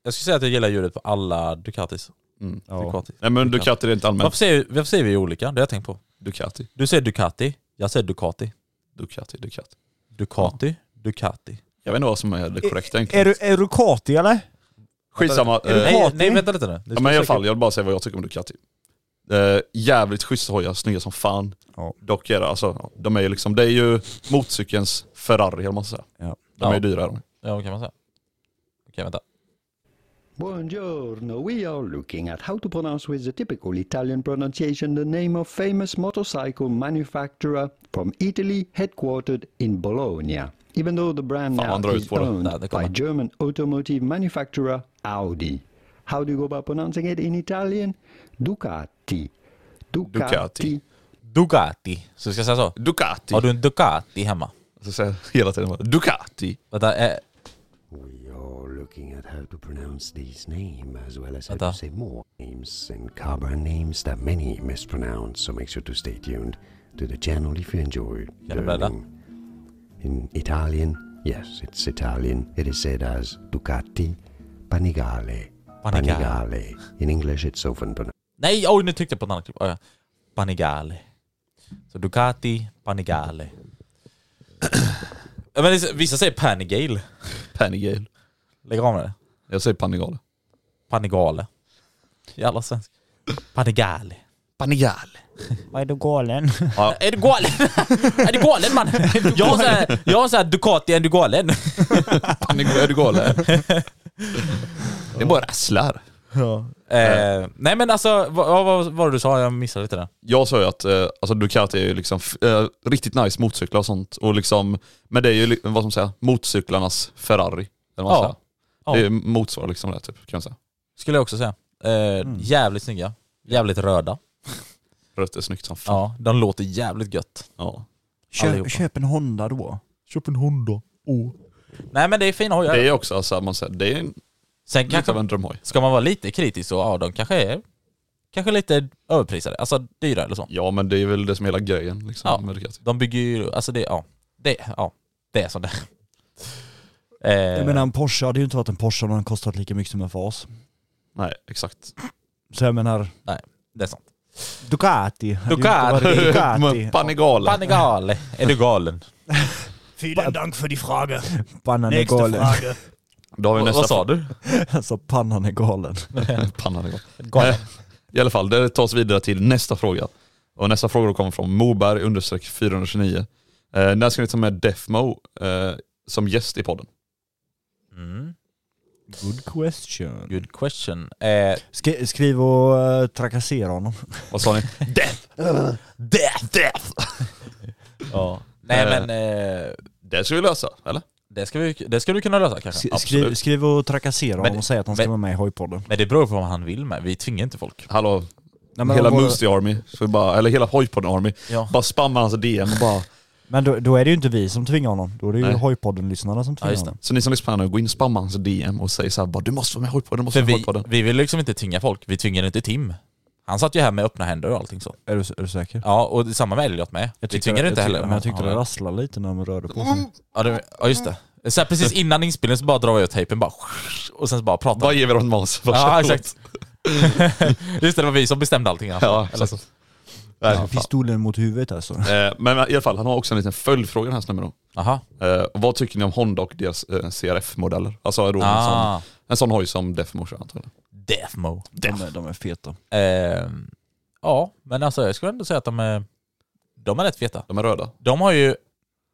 Speaker 3: Jag skulle säga att jag gillar ljudet på alla Ducatis.
Speaker 5: Mm.
Speaker 3: Ducati.
Speaker 5: Nej men Ducati är inte allmänt
Speaker 3: Varför, säger, varför säger vi olika? Det har jag tänkt på.
Speaker 5: Ducati,
Speaker 3: Du säger Ducati, jag säger Ducati.
Speaker 5: Ducati, Ducati.
Speaker 3: Ducati, Ducati.
Speaker 5: Jag vet inte vad som är det korrekta
Speaker 7: Är
Speaker 5: egentligen.
Speaker 7: du, är du kati eller?
Speaker 5: Skitsamma.
Speaker 7: är du
Speaker 5: eh,
Speaker 7: kvar?
Speaker 3: Nej,
Speaker 7: Party?
Speaker 3: nej vänta lite nu.
Speaker 5: Ja, men i alla fall, jag vill bara säga vad jag tycker om Ducati. Eh, jävligt schyssta hojar, snygga som fan.
Speaker 7: Ja.
Speaker 5: Dock är det, alltså, de är ju liksom, det är ju motorcykelns Ferrari eller man ska säga.
Speaker 7: Ja.
Speaker 5: De är ju dyra är de.
Speaker 3: Ja, vad kan man säga? Okej, vänta.
Speaker 2: Buongiorno, we are looking at how to pronounce with the typical Italian pronunciation the name of famous motorcycle manufacturer from Italy headquartered in Bologna. Even though the brand
Speaker 5: Fan, han drar
Speaker 2: now is
Speaker 5: ut på det.
Speaker 2: owned
Speaker 3: Ja, det
Speaker 2: by
Speaker 3: kommer.
Speaker 2: German automotive manufacturer Audi. How do you go about pronouncing it in Italian? Ducati. Ducati.
Speaker 5: Ducati.
Speaker 3: Ducati. Så ska jag säga så?
Speaker 5: Ducati.
Speaker 3: Har du en Ducati hemma?
Speaker 5: Så säger jag hela tiden bara, Ducati.
Speaker 3: Vänta, eh,
Speaker 2: We are looking at how to pronounce these names as well as how
Speaker 3: Vänta.
Speaker 2: to say more names and car brand names that many mispronounce. So make sure to stay tuned to the channel if you enjoy
Speaker 3: Känner du Bella?
Speaker 2: learning. In Italian, yes, it's Italian. It is said as Ducati, Panigale,
Speaker 3: Panigale.
Speaker 2: In English, it's often pronounced.
Speaker 3: Nej, oj nu tryckte jag på en annan klipp. Oj, ja. Panigale. Så Ducati, Panigale. Ja, Men det är- vissa säger Panigale.
Speaker 5: Panigale.
Speaker 3: Lägg av med det.
Speaker 5: Jag säger Panigale.
Speaker 3: Panigale. Jävla svensk. Panigale.
Speaker 5: Panigale.
Speaker 7: Vad är du galen?
Speaker 3: Är du galen? är du galen man? Jag har såhär, jag har såhär Ducati, är du galen?
Speaker 5: Panigale. det är bara rasslar.
Speaker 3: eh, nej men alltså, vad, vad, vad var det du sa? Jag missade lite där.
Speaker 5: Jag sa ju att eh, alltså Ducati är ju liksom f- eh, riktigt nice motorcyklar och sånt. Och liksom, men det är ju li- vad som säger, motorcyklarnas Ferrari. Eller vad man
Speaker 3: Ja.
Speaker 5: säger.
Speaker 3: Ja.
Speaker 5: Det är- motsvarar liksom det typ, kan jag säga.
Speaker 3: Skulle jag också säga. Eh, Jävligt snygga. Jävligt röda.
Speaker 5: Rött är snyggt som fan.
Speaker 3: Ja, de låter jävligt gött.
Speaker 5: Ja.
Speaker 3: Allihopa.
Speaker 4: Köp, köp en Honda då.
Speaker 3: Köp en Honda. Oh. Nej men det är fina hojar.
Speaker 5: Det är också alltså, man säger, det är en,
Speaker 3: Sen
Speaker 5: lite
Speaker 3: kanske
Speaker 5: av en drömhoj.
Speaker 3: Ska man vara lite kritisk så, ja de kanske är kanske lite överprisade, alltså dyra eller så.
Speaker 5: Ja men det är väl det som är hela grejen liksom,
Speaker 3: Ja.
Speaker 5: med Ducati.
Speaker 3: De bygger ju, alltså det, ja. Det, ja. Det är som det är. eh,
Speaker 4: Jag menar en Porsche hade ju inte varit en Porsche om den kostat lika mycket som en Fas.
Speaker 5: Nej, exakt.
Speaker 4: Så jag menar,
Speaker 3: Det är sant.
Speaker 4: Ducati. hade ju inte
Speaker 3: Ducati.
Speaker 4: varit en Ducati.
Speaker 5: Men Panigale.
Speaker 3: Panigale, är du galen?
Speaker 7: Vielen Dank för din fråga.
Speaker 4: Pannan är galen.
Speaker 5: Då har vi
Speaker 3: Vad-
Speaker 5: nästa
Speaker 3: vad sa
Speaker 5: du?
Speaker 4: Alltså pannan är galen.
Speaker 5: Panigale.
Speaker 3: Galen.
Speaker 5: Eh, I alla fall, det tas vidare till nästa fråga. Och nästa fråga då kommer från Moberg understreck 429. Eh, när ska ni ta med Defmo eh, som gäst i podden?
Speaker 3: Mm.
Speaker 4: Good question.
Speaker 3: Good question. Eh,
Speaker 4: Sk- skriv och eh, trakassera honom.
Speaker 5: Vad sa ni?
Speaker 3: death, death! ja. Nej
Speaker 5: Eh.
Speaker 3: men, eh,
Speaker 5: Det ska vi lösa, eller?
Speaker 3: det, ska vi, det ska du kunna lösa kanske.
Speaker 4: Sk- skriv,
Speaker 5: absolut.
Speaker 4: skriv och trakassera honom
Speaker 3: Men-
Speaker 4: och säg att han ska
Speaker 3: men-
Speaker 4: vara med i hojpodden.
Speaker 3: Men det beror på vad han vill med, vi tvingar inte folk.
Speaker 5: Hallå,
Speaker 4: Nej, men
Speaker 5: hela
Speaker 4: vad-
Speaker 5: Moostie Army, ska vi bara, eller hela Hojpodden Army,
Speaker 3: Ja.
Speaker 5: bara spamma hans DM och bara
Speaker 4: Men då, då är det ju inte vi som tvingar honom. Då är det ju
Speaker 5: Nej.
Speaker 4: hojpodden-lyssnarna som
Speaker 3: Ja,
Speaker 4: tvingar
Speaker 3: just det.
Speaker 4: honom.
Speaker 5: Så ni som lyssnar nu, gå in och spamma hans DM och säg så här, bara du måste vara med i Hojpodden, du måste
Speaker 3: För
Speaker 5: vara med i
Speaker 3: vi,
Speaker 5: Hojpodden.
Speaker 3: vi vill liksom inte tvinga folk, vi tvingar inte Tim. Han satt ju här med öppna händer och allting så.
Speaker 4: Är du, är du säker?
Speaker 3: Ja, och det- samma med Elliot med. Jag vi tvingar
Speaker 4: jag,
Speaker 3: inte
Speaker 4: tyckte-
Speaker 3: heller.
Speaker 4: Men jag tyckte
Speaker 3: Ja, Mm.
Speaker 4: det
Speaker 3: men-
Speaker 4: rasslade lite när de rörde på sig.
Speaker 3: Ja, det, ja just det. Så här, precis innan inspelningen så bara drar jag ut tejpen bara och sen så bara pratar
Speaker 5: Vad ger vi dem Måns?
Speaker 3: Ja exakt. just det, det var vi som bestämde allting alltså.
Speaker 5: Ja,
Speaker 3: Eller så.
Speaker 5: exakt. Nej,
Speaker 4: Ja,
Speaker 5: för fan.
Speaker 4: Pistolen mot huvudet alltså.
Speaker 5: Eh, Men i alla fall, han har också en liten följdfråga den här snubben då.
Speaker 3: Aha.
Speaker 5: Eh, vad tycker ni om Honda och deras eh, CRF-modeller? Alltså då en, sån,
Speaker 3: Ah,
Speaker 5: en sån hoj som Defmo kör antagligen.
Speaker 3: Deathmo.
Speaker 4: De är, de är feta.
Speaker 3: Ehm, ja, men alltså jag skulle ändå säga att de är, de är rätt feta.
Speaker 5: De är röda.
Speaker 3: De har ju,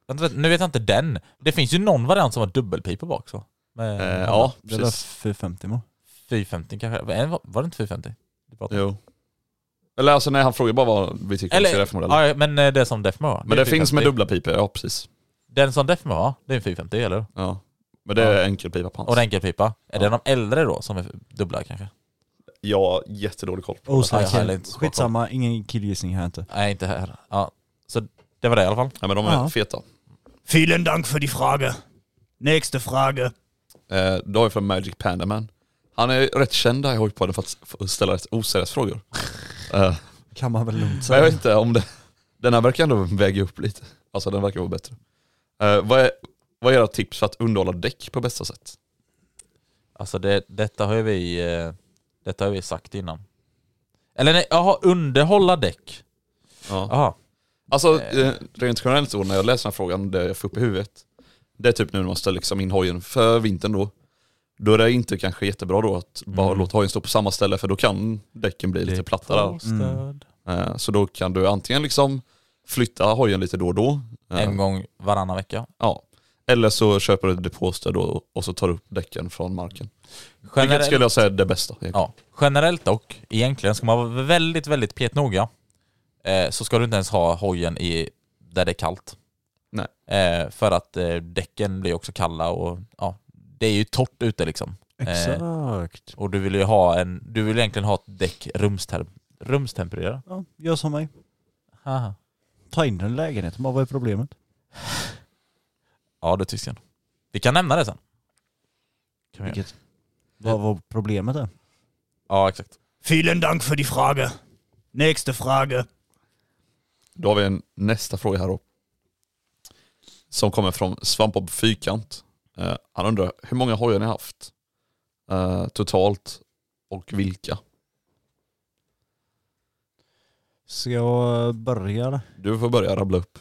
Speaker 3: vänta, nu vet jag inte den. Det finns ju någon variant som har dubbelpipa bak så. Med
Speaker 5: Eh,
Speaker 3: Honda.
Speaker 5: ja,
Speaker 4: Det där
Speaker 5: precis.
Speaker 4: 450 må.
Speaker 3: 450 kanske. Eh, Var, var det inte 450? Du pratade om?
Speaker 5: Jo. Eller alltså nej, han frågar bara vad vi tycker om
Speaker 3: Eller,
Speaker 5: CRF-modeller.
Speaker 3: ja, men eh, det som Defmo har.
Speaker 5: Men
Speaker 3: är
Speaker 5: det finns
Speaker 3: 450.
Speaker 5: med dubbla pipor, ja precis.
Speaker 3: Den som Defmo har, det är en 450 eller hur?
Speaker 5: Ja. Men det är enkelpipa på hans.
Speaker 3: Och en enkelpipa. Är
Speaker 5: Ja.
Speaker 3: det de äldre då som är dubbla kanske?
Speaker 5: Ja, jättedålig koll.
Speaker 4: Oh,
Speaker 3: Ja, jag har
Speaker 4: snacka.
Speaker 3: lite svårt
Speaker 4: Skitsamma, ah, ingen killgissning här inte.
Speaker 3: Nej, inte här. Ja. Så det var det i alla fall.
Speaker 5: Ja, men de är
Speaker 4: Ja.
Speaker 5: feta.
Speaker 7: Vielen Dank för din fråga. Nästa fråga.
Speaker 5: Eh, då har vi från Magic Panda Man. Han är rätt känd här i Hojpodden för att f- ställa rätt oseriösa frågor. eh,
Speaker 4: Kan man väl lugnt
Speaker 5: men jag vet
Speaker 4: säga.
Speaker 5: inte om det... Den här verkar ändå väga upp lite. Alltså den verkar vara bättre. Eh, vad, är, vad är era tips för att underhålla däck på bästa sätt?
Speaker 3: Alltså det, detta har ju vi, eh, detta har vi sagt innan. Eller nej, jaha, underhålla däck.
Speaker 5: Ja.
Speaker 3: Jaha.
Speaker 5: eh, Alltså eh, rent generellt så när jag läser den här frågan, det jag får upp i huvudet, Det är typ nu när man ställer liksom in hojen för vintern då. Då är det inte kanske jättebra då att bara
Speaker 3: Mm.
Speaker 5: låta hojen stå på samma ställe för då kan däcken bli lite platta där.
Speaker 3: Mm.
Speaker 5: Eh, Så då kan du antingen liksom flytta hojen lite då och då. Eh,
Speaker 3: En gång varannan vecka.
Speaker 5: Ja. Eller så köper du ett depåstöd och, och så tar du upp däcken från marken. Vilket
Speaker 3: Generellt-
Speaker 5: skulle jag säga är det bästa.
Speaker 3: Ja. Generellt dock, egentligen ska man vara väldigt, väldigt petnoga, eh, så ska du inte ens ha hojen i, där det är kallt.
Speaker 5: Nej.
Speaker 3: Eh, för att eh, däcken blir också kalla och ja, det är ju torrt ute liksom.
Speaker 4: Exakt.
Speaker 3: och du vill ju ha en, du vill egentligen ha ett däck rumstem- rumstemperera.
Speaker 4: Ja, gör som mig.
Speaker 3: Haha.
Speaker 4: Ta in en lägenhet, bara vad är problemet?
Speaker 3: Ja, det är tysken. Vi kan nämna det sen. Kan vi göra.
Speaker 4: Vilket, vad, vad problemet är?
Speaker 3: Ja, exakt.
Speaker 7: Vielen Dank für die Frage. Nächste Frage.
Speaker 5: Då har vi en nästa fråga här då. Som kommer från Svampbob Fyrkant. Eh, han undrar, hur många hojar ni haft? Eh, totalt och vilka?
Speaker 4: Ska jag börja eller?
Speaker 5: Du får börja rabbla upp.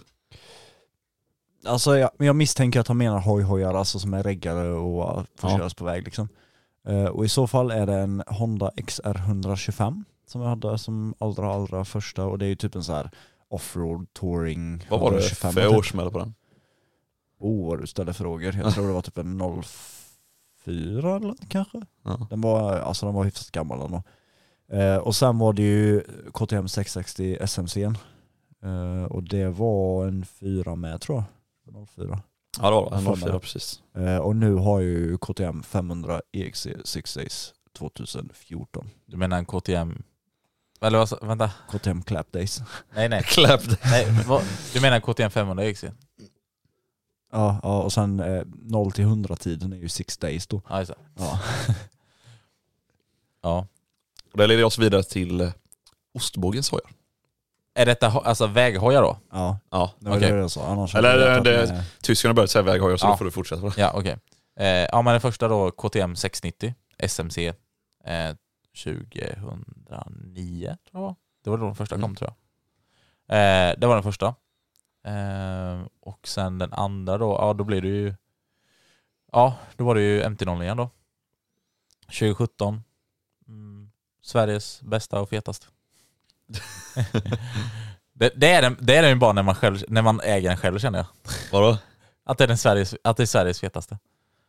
Speaker 4: Alltså jag, men jag misstänker att han menar hojhojar, alltså som är reggade och uh, får köras på väg liksom. Eh, och i så fall är det en Honda XR125 som jag hade som allra, allra första och det är ju typ en så här offroad touring
Speaker 5: Vad var det
Speaker 4: 125
Speaker 5: för
Speaker 4: typ.
Speaker 5: årsmodell på den?
Speaker 4: Oh vad du ställer frågor. Jag tror det var typ en 04 eller något kanske.
Speaker 5: Ja.
Speaker 4: Den var, alltså den var hyfsat gammal ändå. Eh, och sen var det ju KTM 660 SMC. Eh, och det var en 4 med tror jag. 04.
Speaker 5: Ja det var det.
Speaker 4: Jag
Speaker 5: en
Speaker 4: får mig
Speaker 5: 04
Speaker 4: det.
Speaker 5: precis.
Speaker 4: Eh, och nu har ju KTM 500 EXC 6 E Days 2014.
Speaker 3: Du menar en KTM... Eller vad sa- vänta.
Speaker 4: KTM Clap Days.
Speaker 3: Nej nej.
Speaker 5: Kläppt.
Speaker 3: nej vad, du menar en KTM 500 XC?
Speaker 4: Ja, ja och sen eh, 0 till 100 tiden är ju 6 Days då.
Speaker 3: Ja, just det.
Speaker 4: Ja.
Speaker 3: ja.
Speaker 5: Och det leder oss vidare till eh, ostbågens hojar.
Speaker 3: Är detta ho- alltså väghojar då?
Speaker 4: ja,
Speaker 5: Ja.
Speaker 4: det var
Speaker 3: Okej.
Speaker 4: det jag sa. Annars
Speaker 5: Eller,
Speaker 4: hade jag vetat
Speaker 5: det-
Speaker 4: med-
Speaker 5: Tyskarna har börjat säga väghojar så
Speaker 3: Ja.
Speaker 5: då får du fortsätta.
Speaker 3: Ja okej. Eh, ja men den första då KTM 690 SMC eh, 2009 tror jag. Det var då den första kom
Speaker 5: Mm.
Speaker 3: tror jag. Eh, det var den första. Eh, och sen den andra då, ja då blir det ju... Ja, då var det ju MT-09 igen då. 2017. Mm, Sveriges bästa och fetaste. det, det, är den, det är den ju bara när man, själv, när man äger den själv känner jag.
Speaker 5: Vadå?
Speaker 3: Att det är, den Sveriges, att det är Sveriges fetaste.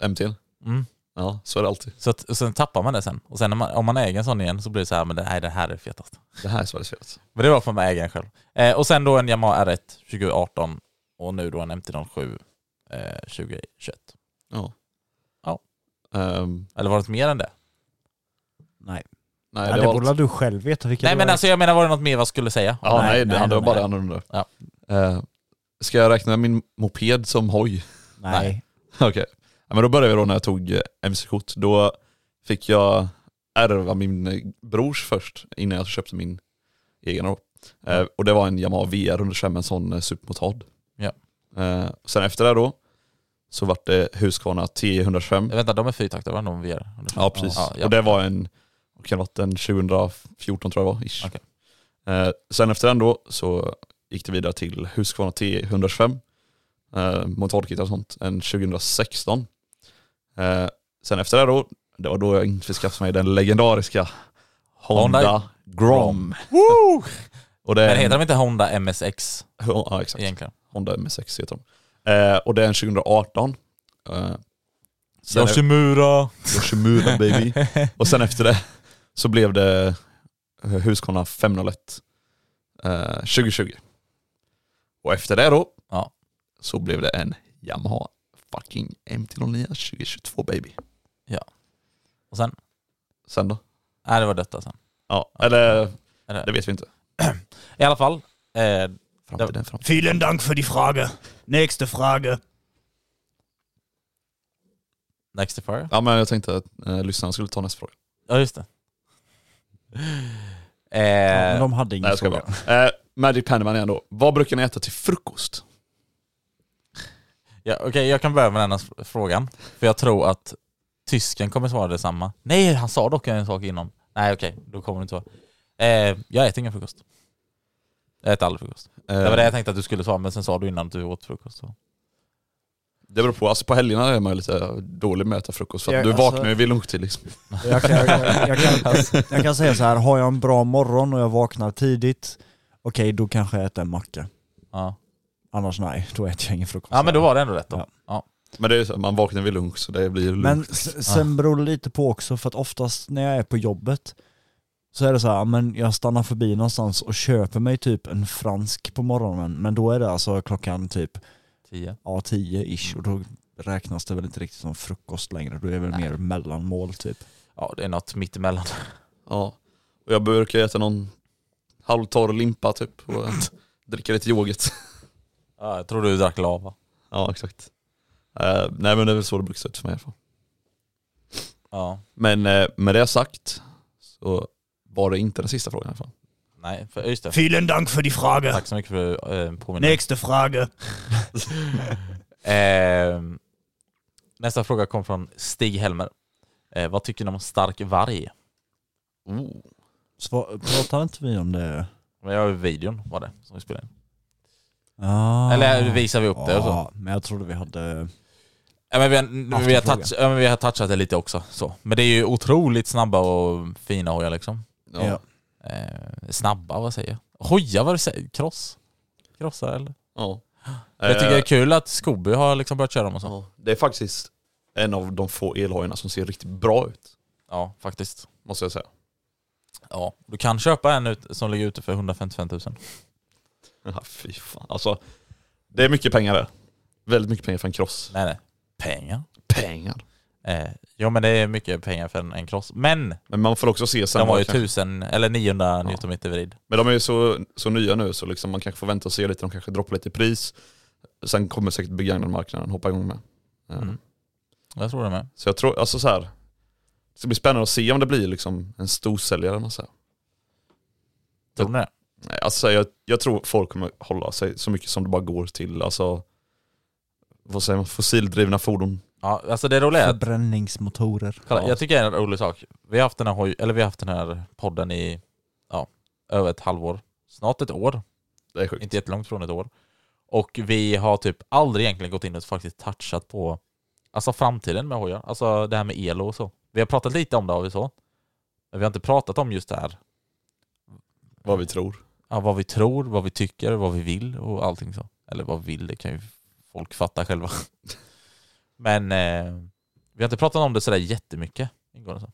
Speaker 5: MT'n?
Speaker 3: Mm.
Speaker 5: Ja, så är det alltid.
Speaker 3: Så att, och sen tappar man det sen. Och sen när man, om man äger en sån igen så blir det så här, men det här, det här är fetast.
Speaker 5: Det här är Sveriges fetaste.
Speaker 3: Men det var för att man äger en själv. Eh, och sen då en Yamaha R1 2018 och nu då en MT-07 eh, 2021.
Speaker 5: Ja.
Speaker 3: Ja.
Speaker 5: Ehm,
Speaker 3: Eller var det något mer än det?
Speaker 4: Nej,
Speaker 5: nej,
Speaker 4: ja,
Speaker 5: det
Speaker 4: det
Speaker 5: var allt.
Speaker 4: borde du själv veta vilka
Speaker 3: nej
Speaker 4: det
Speaker 3: men
Speaker 4: var.
Speaker 3: alltså jag menar var det något mer vad jag skulle säga?
Speaker 5: Ja, nej, det,
Speaker 3: nej,
Speaker 5: han, det var
Speaker 3: nej,
Speaker 5: bara
Speaker 3: nej.
Speaker 5: han undrar.
Speaker 3: Ja.
Speaker 5: Eh, ska jag räkna min moped som hoj?
Speaker 4: Nej.
Speaker 5: Okej. Ja, men då började vi då när jag tog eh, MC-kort. Då fick jag ärva min eh, brors först innan jag köpte min egen. Då.
Speaker 3: Mm.
Speaker 5: Eh, och det var en Yamaha VR 125, en sån eh, supermotard.
Speaker 3: Ja.
Speaker 5: Eh, sen efter det då så vart det Husqvarna T125.
Speaker 3: Eh, Vänta, de är fyrtaktare va? De vi är.
Speaker 5: Ja precis.
Speaker 3: Ja, ja.
Speaker 5: Och det var en, vad kan det ha varit, en 2014 tror jag det var. Ish.
Speaker 3: Okej.
Speaker 5: Eh, sen efter den då så gick det vidare till Husqvarna T125, eh, motorkit och sånt, en 2016. Eh, sen efter det då, det var då jag införskaffade mig den legendariska Honda,
Speaker 3: Honda
Speaker 5: Grom. och det är
Speaker 3: Men
Speaker 5: en-
Speaker 3: heter de inte Honda MSX
Speaker 5: Ja exakt.
Speaker 3: egentligen?
Speaker 5: Honda MSX heter de. Eh, och det är en 2018. Eh, sen är-
Speaker 3: Yoshimura!
Speaker 5: Yoshimura baby. Och sen efter det så blev det eh, Husqvarna 501 eh, 2020. Och efter det då
Speaker 3: Ja.
Speaker 5: så blev det en Yamaha fucking MT-09 2022 baby.
Speaker 3: Och sen?
Speaker 5: Sen då?
Speaker 3: Nej det var detta sen.
Speaker 5: Ja, eller
Speaker 3: Eller-
Speaker 5: det vet vi inte.
Speaker 3: I alla fall. Eh,
Speaker 5: Framtiden, framtiden.
Speaker 7: Vielen Dank für die Frage. Nächste Frage.
Speaker 3: Next to Fire.
Speaker 5: Ja men jag tänkte att eh, lyssnarna skulle ta nästa fråga.
Speaker 3: Ja just det.
Speaker 4: Ja, men
Speaker 3: Eh,
Speaker 4: de hade ingen
Speaker 5: Nej jag ska
Speaker 4: fråga.
Speaker 5: bara. Eh, Magic Pandaman igen då. Vad brukar ni äta till frukost?
Speaker 3: ja, Okej, jag kan börja med den här fr- frågan. För jag tror att tysken kommer svara detsamma. Nej, han sa dock en sak innan. Nej okej, då kommer det inte vara. Eh, jag äter ingen frukost. Jag äter aldrig frukost.
Speaker 5: Eh,
Speaker 3: Det var det jag tänkte att du skulle svara, men sen sa du innan att du åt frukost. Så.
Speaker 5: Det beror på, alltså på helgerna är man ju lite dålig med att äta frukost. För att
Speaker 4: Ja,
Speaker 5: du
Speaker 4: alltså-
Speaker 5: vaknar ju vid lunchtid liksom.
Speaker 4: Jag kan, jag, jag, jag, kan, jag kan säga så här, har jag en bra morgon och jag vaknar tidigt, okej då kanske jag äter en macka.
Speaker 3: Ja.
Speaker 4: Annars nej, då äter jag ingen frukost.
Speaker 3: Ja men då var det ändå rätt då.
Speaker 4: Ja.
Speaker 3: Ja.
Speaker 5: Men det är ju så, här, man vaknar vid lunch så det blir ju
Speaker 4: Men
Speaker 5: lunch.
Speaker 3: liksom.
Speaker 4: s-
Speaker 3: Ah.
Speaker 4: sen beror det lite på också, för att oftast när jag är på jobbet så är det så här, men jag stannar förbi någonstans och köper mig typ en fransk på morgonen, men då är det alltså klockan typ
Speaker 3: Tio.
Speaker 4: ja, 10-ish och då räknas det väl inte riktigt som frukost längre, då är det väl
Speaker 3: Nej.
Speaker 4: mer mellanmål typ.
Speaker 3: Ja det är något mittemellan.
Speaker 5: Ja. Och jag brukar äta någon halvtorr limpa typ och dricka lite yoghurt.
Speaker 3: Ja, jag tror du drack lava.
Speaker 5: Ja exakt. Eh, nej men det är väl så det brukar se ut för mig i alla fall.
Speaker 3: Ja.
Speaker 5: Men eh, med det sagt så var det inte den sista frågan i alla fall.
Speaker 3: Nej, för, just det.
Speaker 7: Vielen Dank för die Frage.
Speaker 3: Tack så mycket för eh, påminnelsen.
Speaker 7: Nächste Frage.
Speaker 3: Ehm, nästa fråga kom från Stig-Helmer. Eh, vad tycker ni om stark varg?
Speaker 4: Sva- Pratar inte vi om det?
Speaker 3: Men jag har ju videon var det som vi spelade in.
Speaker 4: Ah.
Speaker 3: Eller eh, visar vi upp det och så?
Speaker 4: Ja, men jag trodde vi hade...
Speaker 3: Ja, men vi, har,
Speaker 4: Haft
Speaker 3: vi, har
Speaker 4: en fråga.
Speaker 3: touch, ja, men vi har touchat det lite också. Så. Men det är ju otroligt snabba och fina hojar liksom.
Speaker 5: Ja.
Speaker 4: Ja.
Speaker 5: Ja.
Speaker 3: Eh, snabba, vad säger jag? Hojar, vad du säger Kross? Krossar eller? Jag tycker
Speaker 5: Eh,
Speaker 3: det är kul att Scooby har liksom börjat köra dem och så.
Speaker 5: ja. Det är faktiskt en av de få elhojarna som ser riktigt bra ut.
Speaker 3: Ja, faktiskt.
Speaker 5: Måste jag säga.
Speaker 3: Ja. Du kan köpa en ut, som ligger ute för 155 000.
Speaker 5: Ja, fy fan. Alltså, det är mycket pengar där. Väldigt mycket pengar för en cross.
Speaker 3: Nej, nej. Pengar.
Speaker 5: Pengar.
Speaker 3: Eh, jo men det är mycket pengar för en, en cross. Men
Speaker 5: Men man får också se sen.
Speaker 3: de har
Speaker 5: vad
Speaker 3: ju
Speaker 5: kanske-
Speaker 3: 1000 eller 900 newtonmeter vrid.
Speaker 5: Men de är ju så, så nya nu så liksom man kanske får vänta och se lite. De kanske droppar lite i pris. Sen kommer säkert begagnadmarknaden hoppa igång med. Eh,
Speaker 3: Mm. Jag tror det med.
Speaker 5: Så jag tror, alltså så här. Det ska bli spännande att se om det blir liksom en storsäljare. eller något så här.
Speaker 3: Tror ni det?
Speaker 5: Nej, alltså jag, jag tror folk kommer hålla sig så mycket som det bara går till alltså, vad säger man, fossildrivna fordon.
Speaker 3: Ja, alltså det roliga är att
Speaker 4: Förbränningsmotorer.
Speaker 3: Kolla,
Speaker 5: Ja.
Speaker 3: jag tycker det är en rolig sak. Vi har haft den här, hoj- eller vi har haft den här podden i ja, över ett halvår. Snart ett år.
Speaker 5: Det är sjukt.
Speaker 3: Inte jättelångt från ett år. Och vi har typ aldrig egentligen gått in och faktiskt touchat på alltså framtiden med hojar. Alltså det här med el och så. Vi har pratat lite om det har vi så. Men vi har inte pratat om just det här.
Speaker 5: Vad vi tror.
Speaker 3: Ja, vad vi tror, vad vi tycker, vad vi vill och allting så. Eller vad vi vill, det kan ju folk fatta själva. Men eh, vi har inte pratat om det sådär jättemycket ingående så.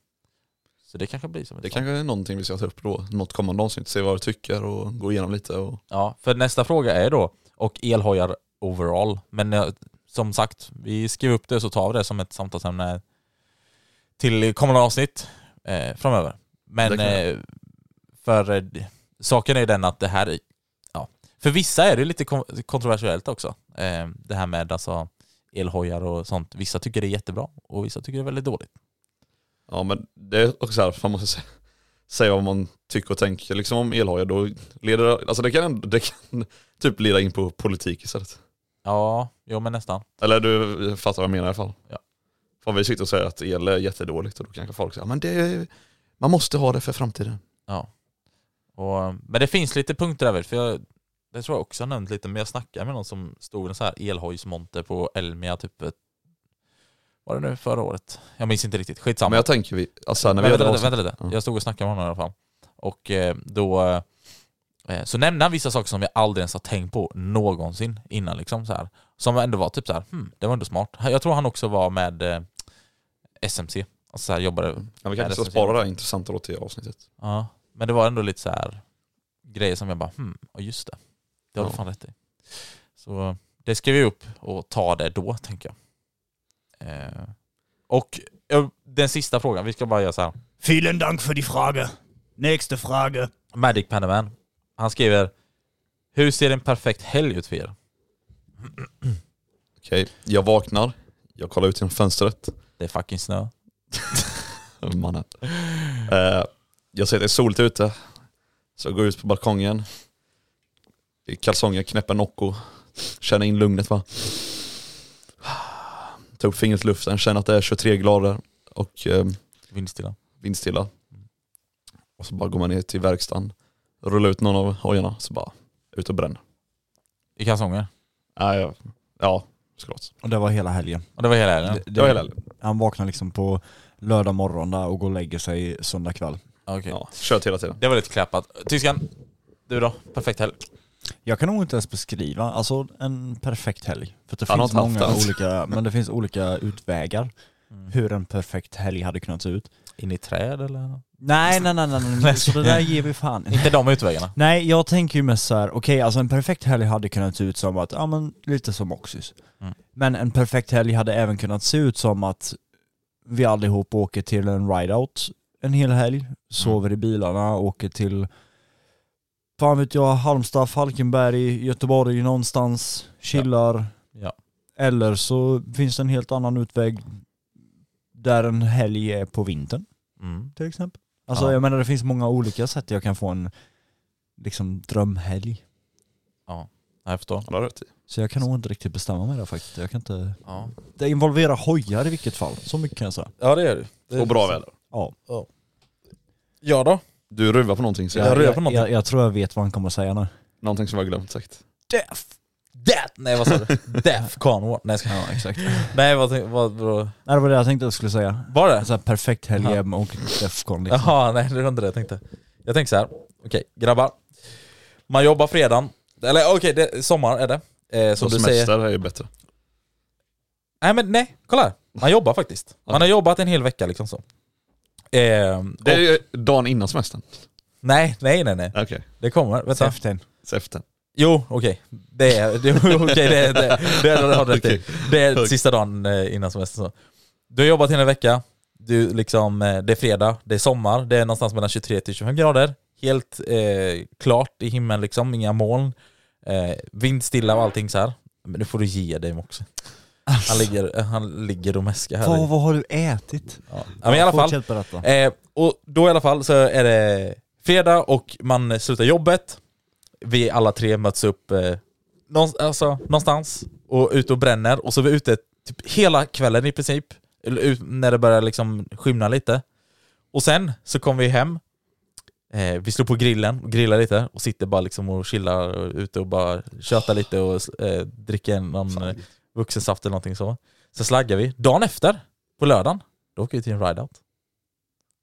Speaker 3: Så det kanske blir som ett
Speaker 5: Det
Speaker 3: sånt.
Speaker 5: kanske är någonting vi ska ta upp då. Något kommande avsnitt. Se vad du tycker och gå igenom lite. Och,
Speaker 3: Ja, för nästa fråga är då, och elhojar overall. Men eh, som sagt, vi skriver upp det så tar vi det som ett samtalsämne till kommande avsnitt eh, framöver.
Speaker 5: Det
Speaker 3: Men
Speaker 5: kan vi
Speaker 3: eh, för eh, saken är ju den att det här, är- ja, för vissa är det ju lite kon- kontroversiellt också. Eh, det här med alltså elhojar och sånt. Vissa tycker det är jättebra och vissa tycker det är väldigt dåligt.
Speaker 5: ja men det är också så här, man måste sä- säga vad man tycker och tänker liksom om elhojar. Då leder det, alltså det kan, det kan typ leda in på politik istället.
Speaker 3: Ja, jo men nästan.
Speaker 5: Eller du fattar vad jag menar i alla fall.
Speaker 3: Ja.
Speaker 5: För om vi sitter och säger att el är jättedåligt och då kanske folk säger men det, är- man måste ha det för framtiden.
Speaker 3: Ja. Och, men det finns lite punkter där väl, för jag, det tror jag också jag har nämnt lite, men jag snackade med någon som stod en så här elhojsmonter på Elmia typ ett, var det nu förra året? Jag minns inte riktigt, skitsamma.
Speaker 5: Men jag tänker vi, alltså här, när vi
Speaker 3: vänta,
Speaker 5: gör
Speaker 3: lite, vänta lite,
Speaker 5: Ja.
Speaker 3: jag stod och snackade med honom i alla fall. Och eh, då eh, så nämnde han vissa saker som jag aldrig ens har tänkt på någonsin innan liksom så här. Som ändå var typ så här, hmm, det var ändå smart. Jag tror han också var med eh, SMC, alltså så här jobbade
Speaker 5: Ja, vi
Speaker 3: Ja, det
Speaker 5: kanske ska
Speaker 3: syns
Speaker 5: spara
Speaker 3: ju.
Speaker 5: det här intressanta då till avsnittet.
Speaker 3: Ja, men det var ändå lite så här grejer som jag bara, hmm, ja just det. Det har du
Speaker 5: Ja.
Speaker 3: fan rätt i. Så det skriver jag upp och tar det då, tänker jag. Eh, och ja, den sista frågan, vi ska bara göra så här.
Speaker 7: Vielen Dank för die Frage. Nächste Frage.
Speaker 3: Magic Panaman, han skriver Hur ser en perfekt helg ut för er?
Speaker 5: Okej, jag vaknar, jag kollar ut genom fönstret.
Speaker 3: Det är fucking snö.
Speaker 5: Mannen. Eh, jag ser att det är soligt ute, så jag går ut på balkongen. I kalsonger, knäpper Nocco, känner in lugnet va. Tar upp fingret i luften, känner att det är 23 grader och eh,
Speaker 3: Vindstilla.
Speaker 5: vindstilla. Och så bara går man ner till verkstaden, rullar ut någon av hojarna, så bara ut och bränner.
Speaker 3: I kalsonger.
Speaker 5: Nej, ja, ja, såklart.
Speaker 4: Och det var hela helgen.
Speaker 3: Och det var hela helgen?
Speaker 5: Det var hela helgen.
Speaker 4: Han vaknar liksom på lördag morgon där och går och lägger sig söndag kväll.
Speaker 3: Okej.
Speaker 5: Kört hela tiden.
Speaker 3: Det var lite klappat. Tyskan, du då? Perfekt helg.
Speaker 4: Jag kan nog inte ens beskriva, alltså en perfekt helg. För att det
Speaker 3: Han har
Speaker 4: finns
Speaker 3: inte
Speaker 4: många
Speaker 3: haft det.
Speaker 4: olika, men det finns olika utvägar hur en perfekt helg hade kunnat se ut.
Speaker 3: In i träd eller?
Speaker 4: Nej, nej, nej, nej, nej. så det där ger vi fan
Speaker 3: Inte de utvägarna.
Speaker 4: Nej, jag tänker ju mest så här, okej alltså en perfekt helg hade kunnat se ut som att, ja men lite som Oxys.
Speaker 3: Mm.
Speaker 4: Men en perfekt helg hade även kunnat se ut som att vi allihop åker till en rideout en hel helg,
Speaker 3: Mm.
Speaker 4: sover i bilarna, åker till, fan vet jag, Halmstad, Falkenberg, Göteborg någonstans, chillar.
Speaker 3: Ja.
Speaker 4: Eller så finns det en helt annan utväg där en helg är på vintern.
Speaker 3: Mm.
Speaker 4: Till exempel. Alltså
Speaker 3: Ja.
Speaker 4: jag menar det finns många olika sätt jag kan få en liksom drömhelg.
Speaker 3: Ja, jag förstår.
Speaker 5: Han har rätt i.
Speaker 4: Så jag kan nog inte riktigt bestämma mig där faktiskt. Jag kan inte...
Speaker 3: Ja.
Speaker 4: Det involverar hojar i vilket fall. Så mycket kan jag säga.
Speaker 3: Ja det gör du.
Speaker 5: Och bra väder.
Speaker 4: Ja.
Speaker 3: Ja då?
Speaker 5: Du ruvar på någonting, så
Speaker 3: Jag rör på någonting.
Speaker 4: jag, jag tror jag vet vad han kommer att säga nu.
Speaker 5: någonting som jag har glömt sagt.
Speaker 3: Death! Death! Nej vad sa du? Death Con War. Nej jag ska...
Speaker 4: Ja, exakt.
Speaker 3: Nej vad, tänk- vad, vad
Speaker 4: Nej, det var det jag tänkte jag skulle säga.
Speaker 3: var det?
Speaker 5: Alltså.
Speaker 4: Så här, perfekt helg
Speaker 3: Ja.
Speaker 4: med och Defcon liksom.
Speaker 3: Jaha, nej det var inte det jag tänkte. Jag tänkte så här. okej grabbar. Man jobbar fredagen, eller okej det- sommar är det. Eh,
Speaker 5: Så
Speaker 3: som du säger.
Speaker 5: semester är ju bättre.
Speaker 3: Nej men nej, kolla här. Man jobbar faktiskt. Man har jobbat en hel vecka liksom så. Eh,
Speaker 5: Det är
Speaker 3: och,
Speaker 5: ju dagen innan semestern.
Speaker 3: nej, nej, nej, nej.
Speaker 5: Okej,
Speaker 3: Det kommer. Vänta.
Speaker 4: Säften.
Speaker 5: så efter.
Speaker 3: Jo, okej. Det är det, är- okej, det, är- det, det, är- det har du rätt i.
Speaker 5: Okej.
Speaker 3: Det är sista dagen eh, innan semestern. så. Du har jobbat hela en vecka, du liksom, eh, det är fredag, det är sommar, det är någonstans mellan 23 till 25 grader. Helt eh, klart i himlen liksom, inga moln. Eh, vindstilla och allting så här. Men nu får du ge dig också. Han ligger, eh, han ligger och mäskar här.
Speaker 4: Alltså. Vad, vad har du ätit?
Speaker 3: Ja. Ja, men i alla fall,
Speaker 4: Fortsätt berätta.
Speaker 3: Eh, och då i alla fall så är det fredag och man slutar jobbet. Vi alla tre möts upp eh, någon, alltså, någonstans och ute och bränner. Och så är vi ute typ hela kvällen i princip. Eller ut, när det börjar liksom skymna lite. Och sen så kommer vi hem. Eh, vi slår på grillen och grillar lite och sitter bara liksom och chillar och ute och bara tjötar lite och eh, dricker någon eh, vuxensaft eller någonting så. Sen slaggar vi. Dagen efter, på lördagen, då åker vi till en rideout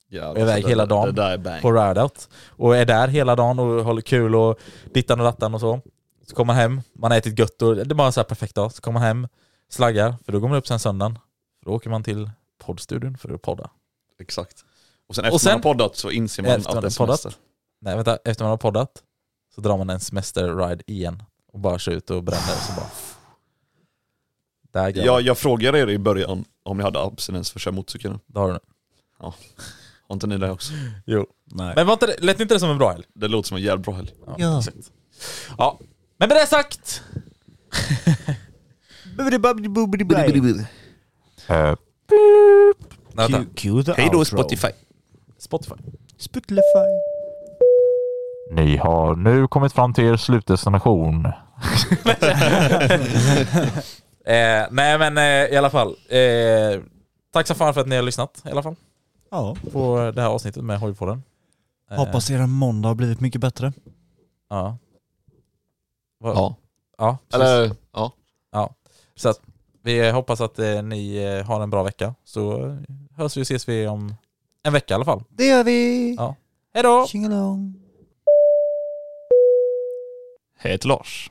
Speaker 5: Ja,
Speaker 3: är iväg
Speaker 5: det-
Speaker 3: hela
Speaker 5: det-
Speaker 3: dagen
Speaker 5: Det där är bang.
Speaker 3: på rideout. Och är där hela dagen och håller kul och dittan och dattan och så. Så kommer man hem, man har ätit gött och det är bara en så här perfekt dag. Så kommer man hem, slaggar, för då går man upp sen söndagen. Då åker man till poddstudion för att podda.
Speaker 5: Exakt. Och sen efter
Speaker 3: Och sen-
Speaker 5: man har poddat så inser man
Speaker 3: Efter
Speaker 5: att
Speaker 3: man
Speaker 5: det är
Speaker 3: har poddat.
Speaker 5: semester.
Speaker 3: Nej vänta, efter man har poddat så drar man en semesterride igen och bara kör ut och bränner och så bara... Där grabbar,
Speaker 5: Jag, jag frågade er i början om ni hade abstinens för att köra motorcykel. nu.
Speaker 3: det har du den.
Speaker 5: Har inte ni det också?
Speaker 3: Jo.
Speaker 4: Nej.
Speaker 3: Men var inte det, lät inte det som en bra helg?
Speaker 5: Det låter som en jävligt bra helg.
Speaker 4: Ja.
Speaker 3: Exakt. Ja. Men med det sagt! Nej, vänta.
Speaker 4: Cue- Cue the
Speaker 5: Hej då
Speaker 4: outro.
Speaker 5: Spotify.
Speaker 3: Spotify.
Speaker 4: Spotify.
Speaker 3: Ni har nu kommit fram till er slutdestination. eh, nej men eh, i alla fall. Eh, tack så fan för att ni har lyssnat i alla fall
Speaker 4: Ja.
Speaker 3: på det här avsnittet med Hojpodden. Eh,
Speaker 4: Hoppas eran måndag har blivit mycket bättre.
Speaker 3: Ja. Va- ja.
Speaker 5: Ja.
Speaker 3: precis.
Speaker 5: Eller ja.
Speaker 3: Så att vi hoppas att eh, ni eh, har en bra vecka. Så eh, hörs vi och ses vi om en vecka i alla fall.
Speaker 4: Det gör vi!
Speaker 3: Ja. Hej då!
Speaker 4: Tjingelong!
Speaker 5: Hej till Lars.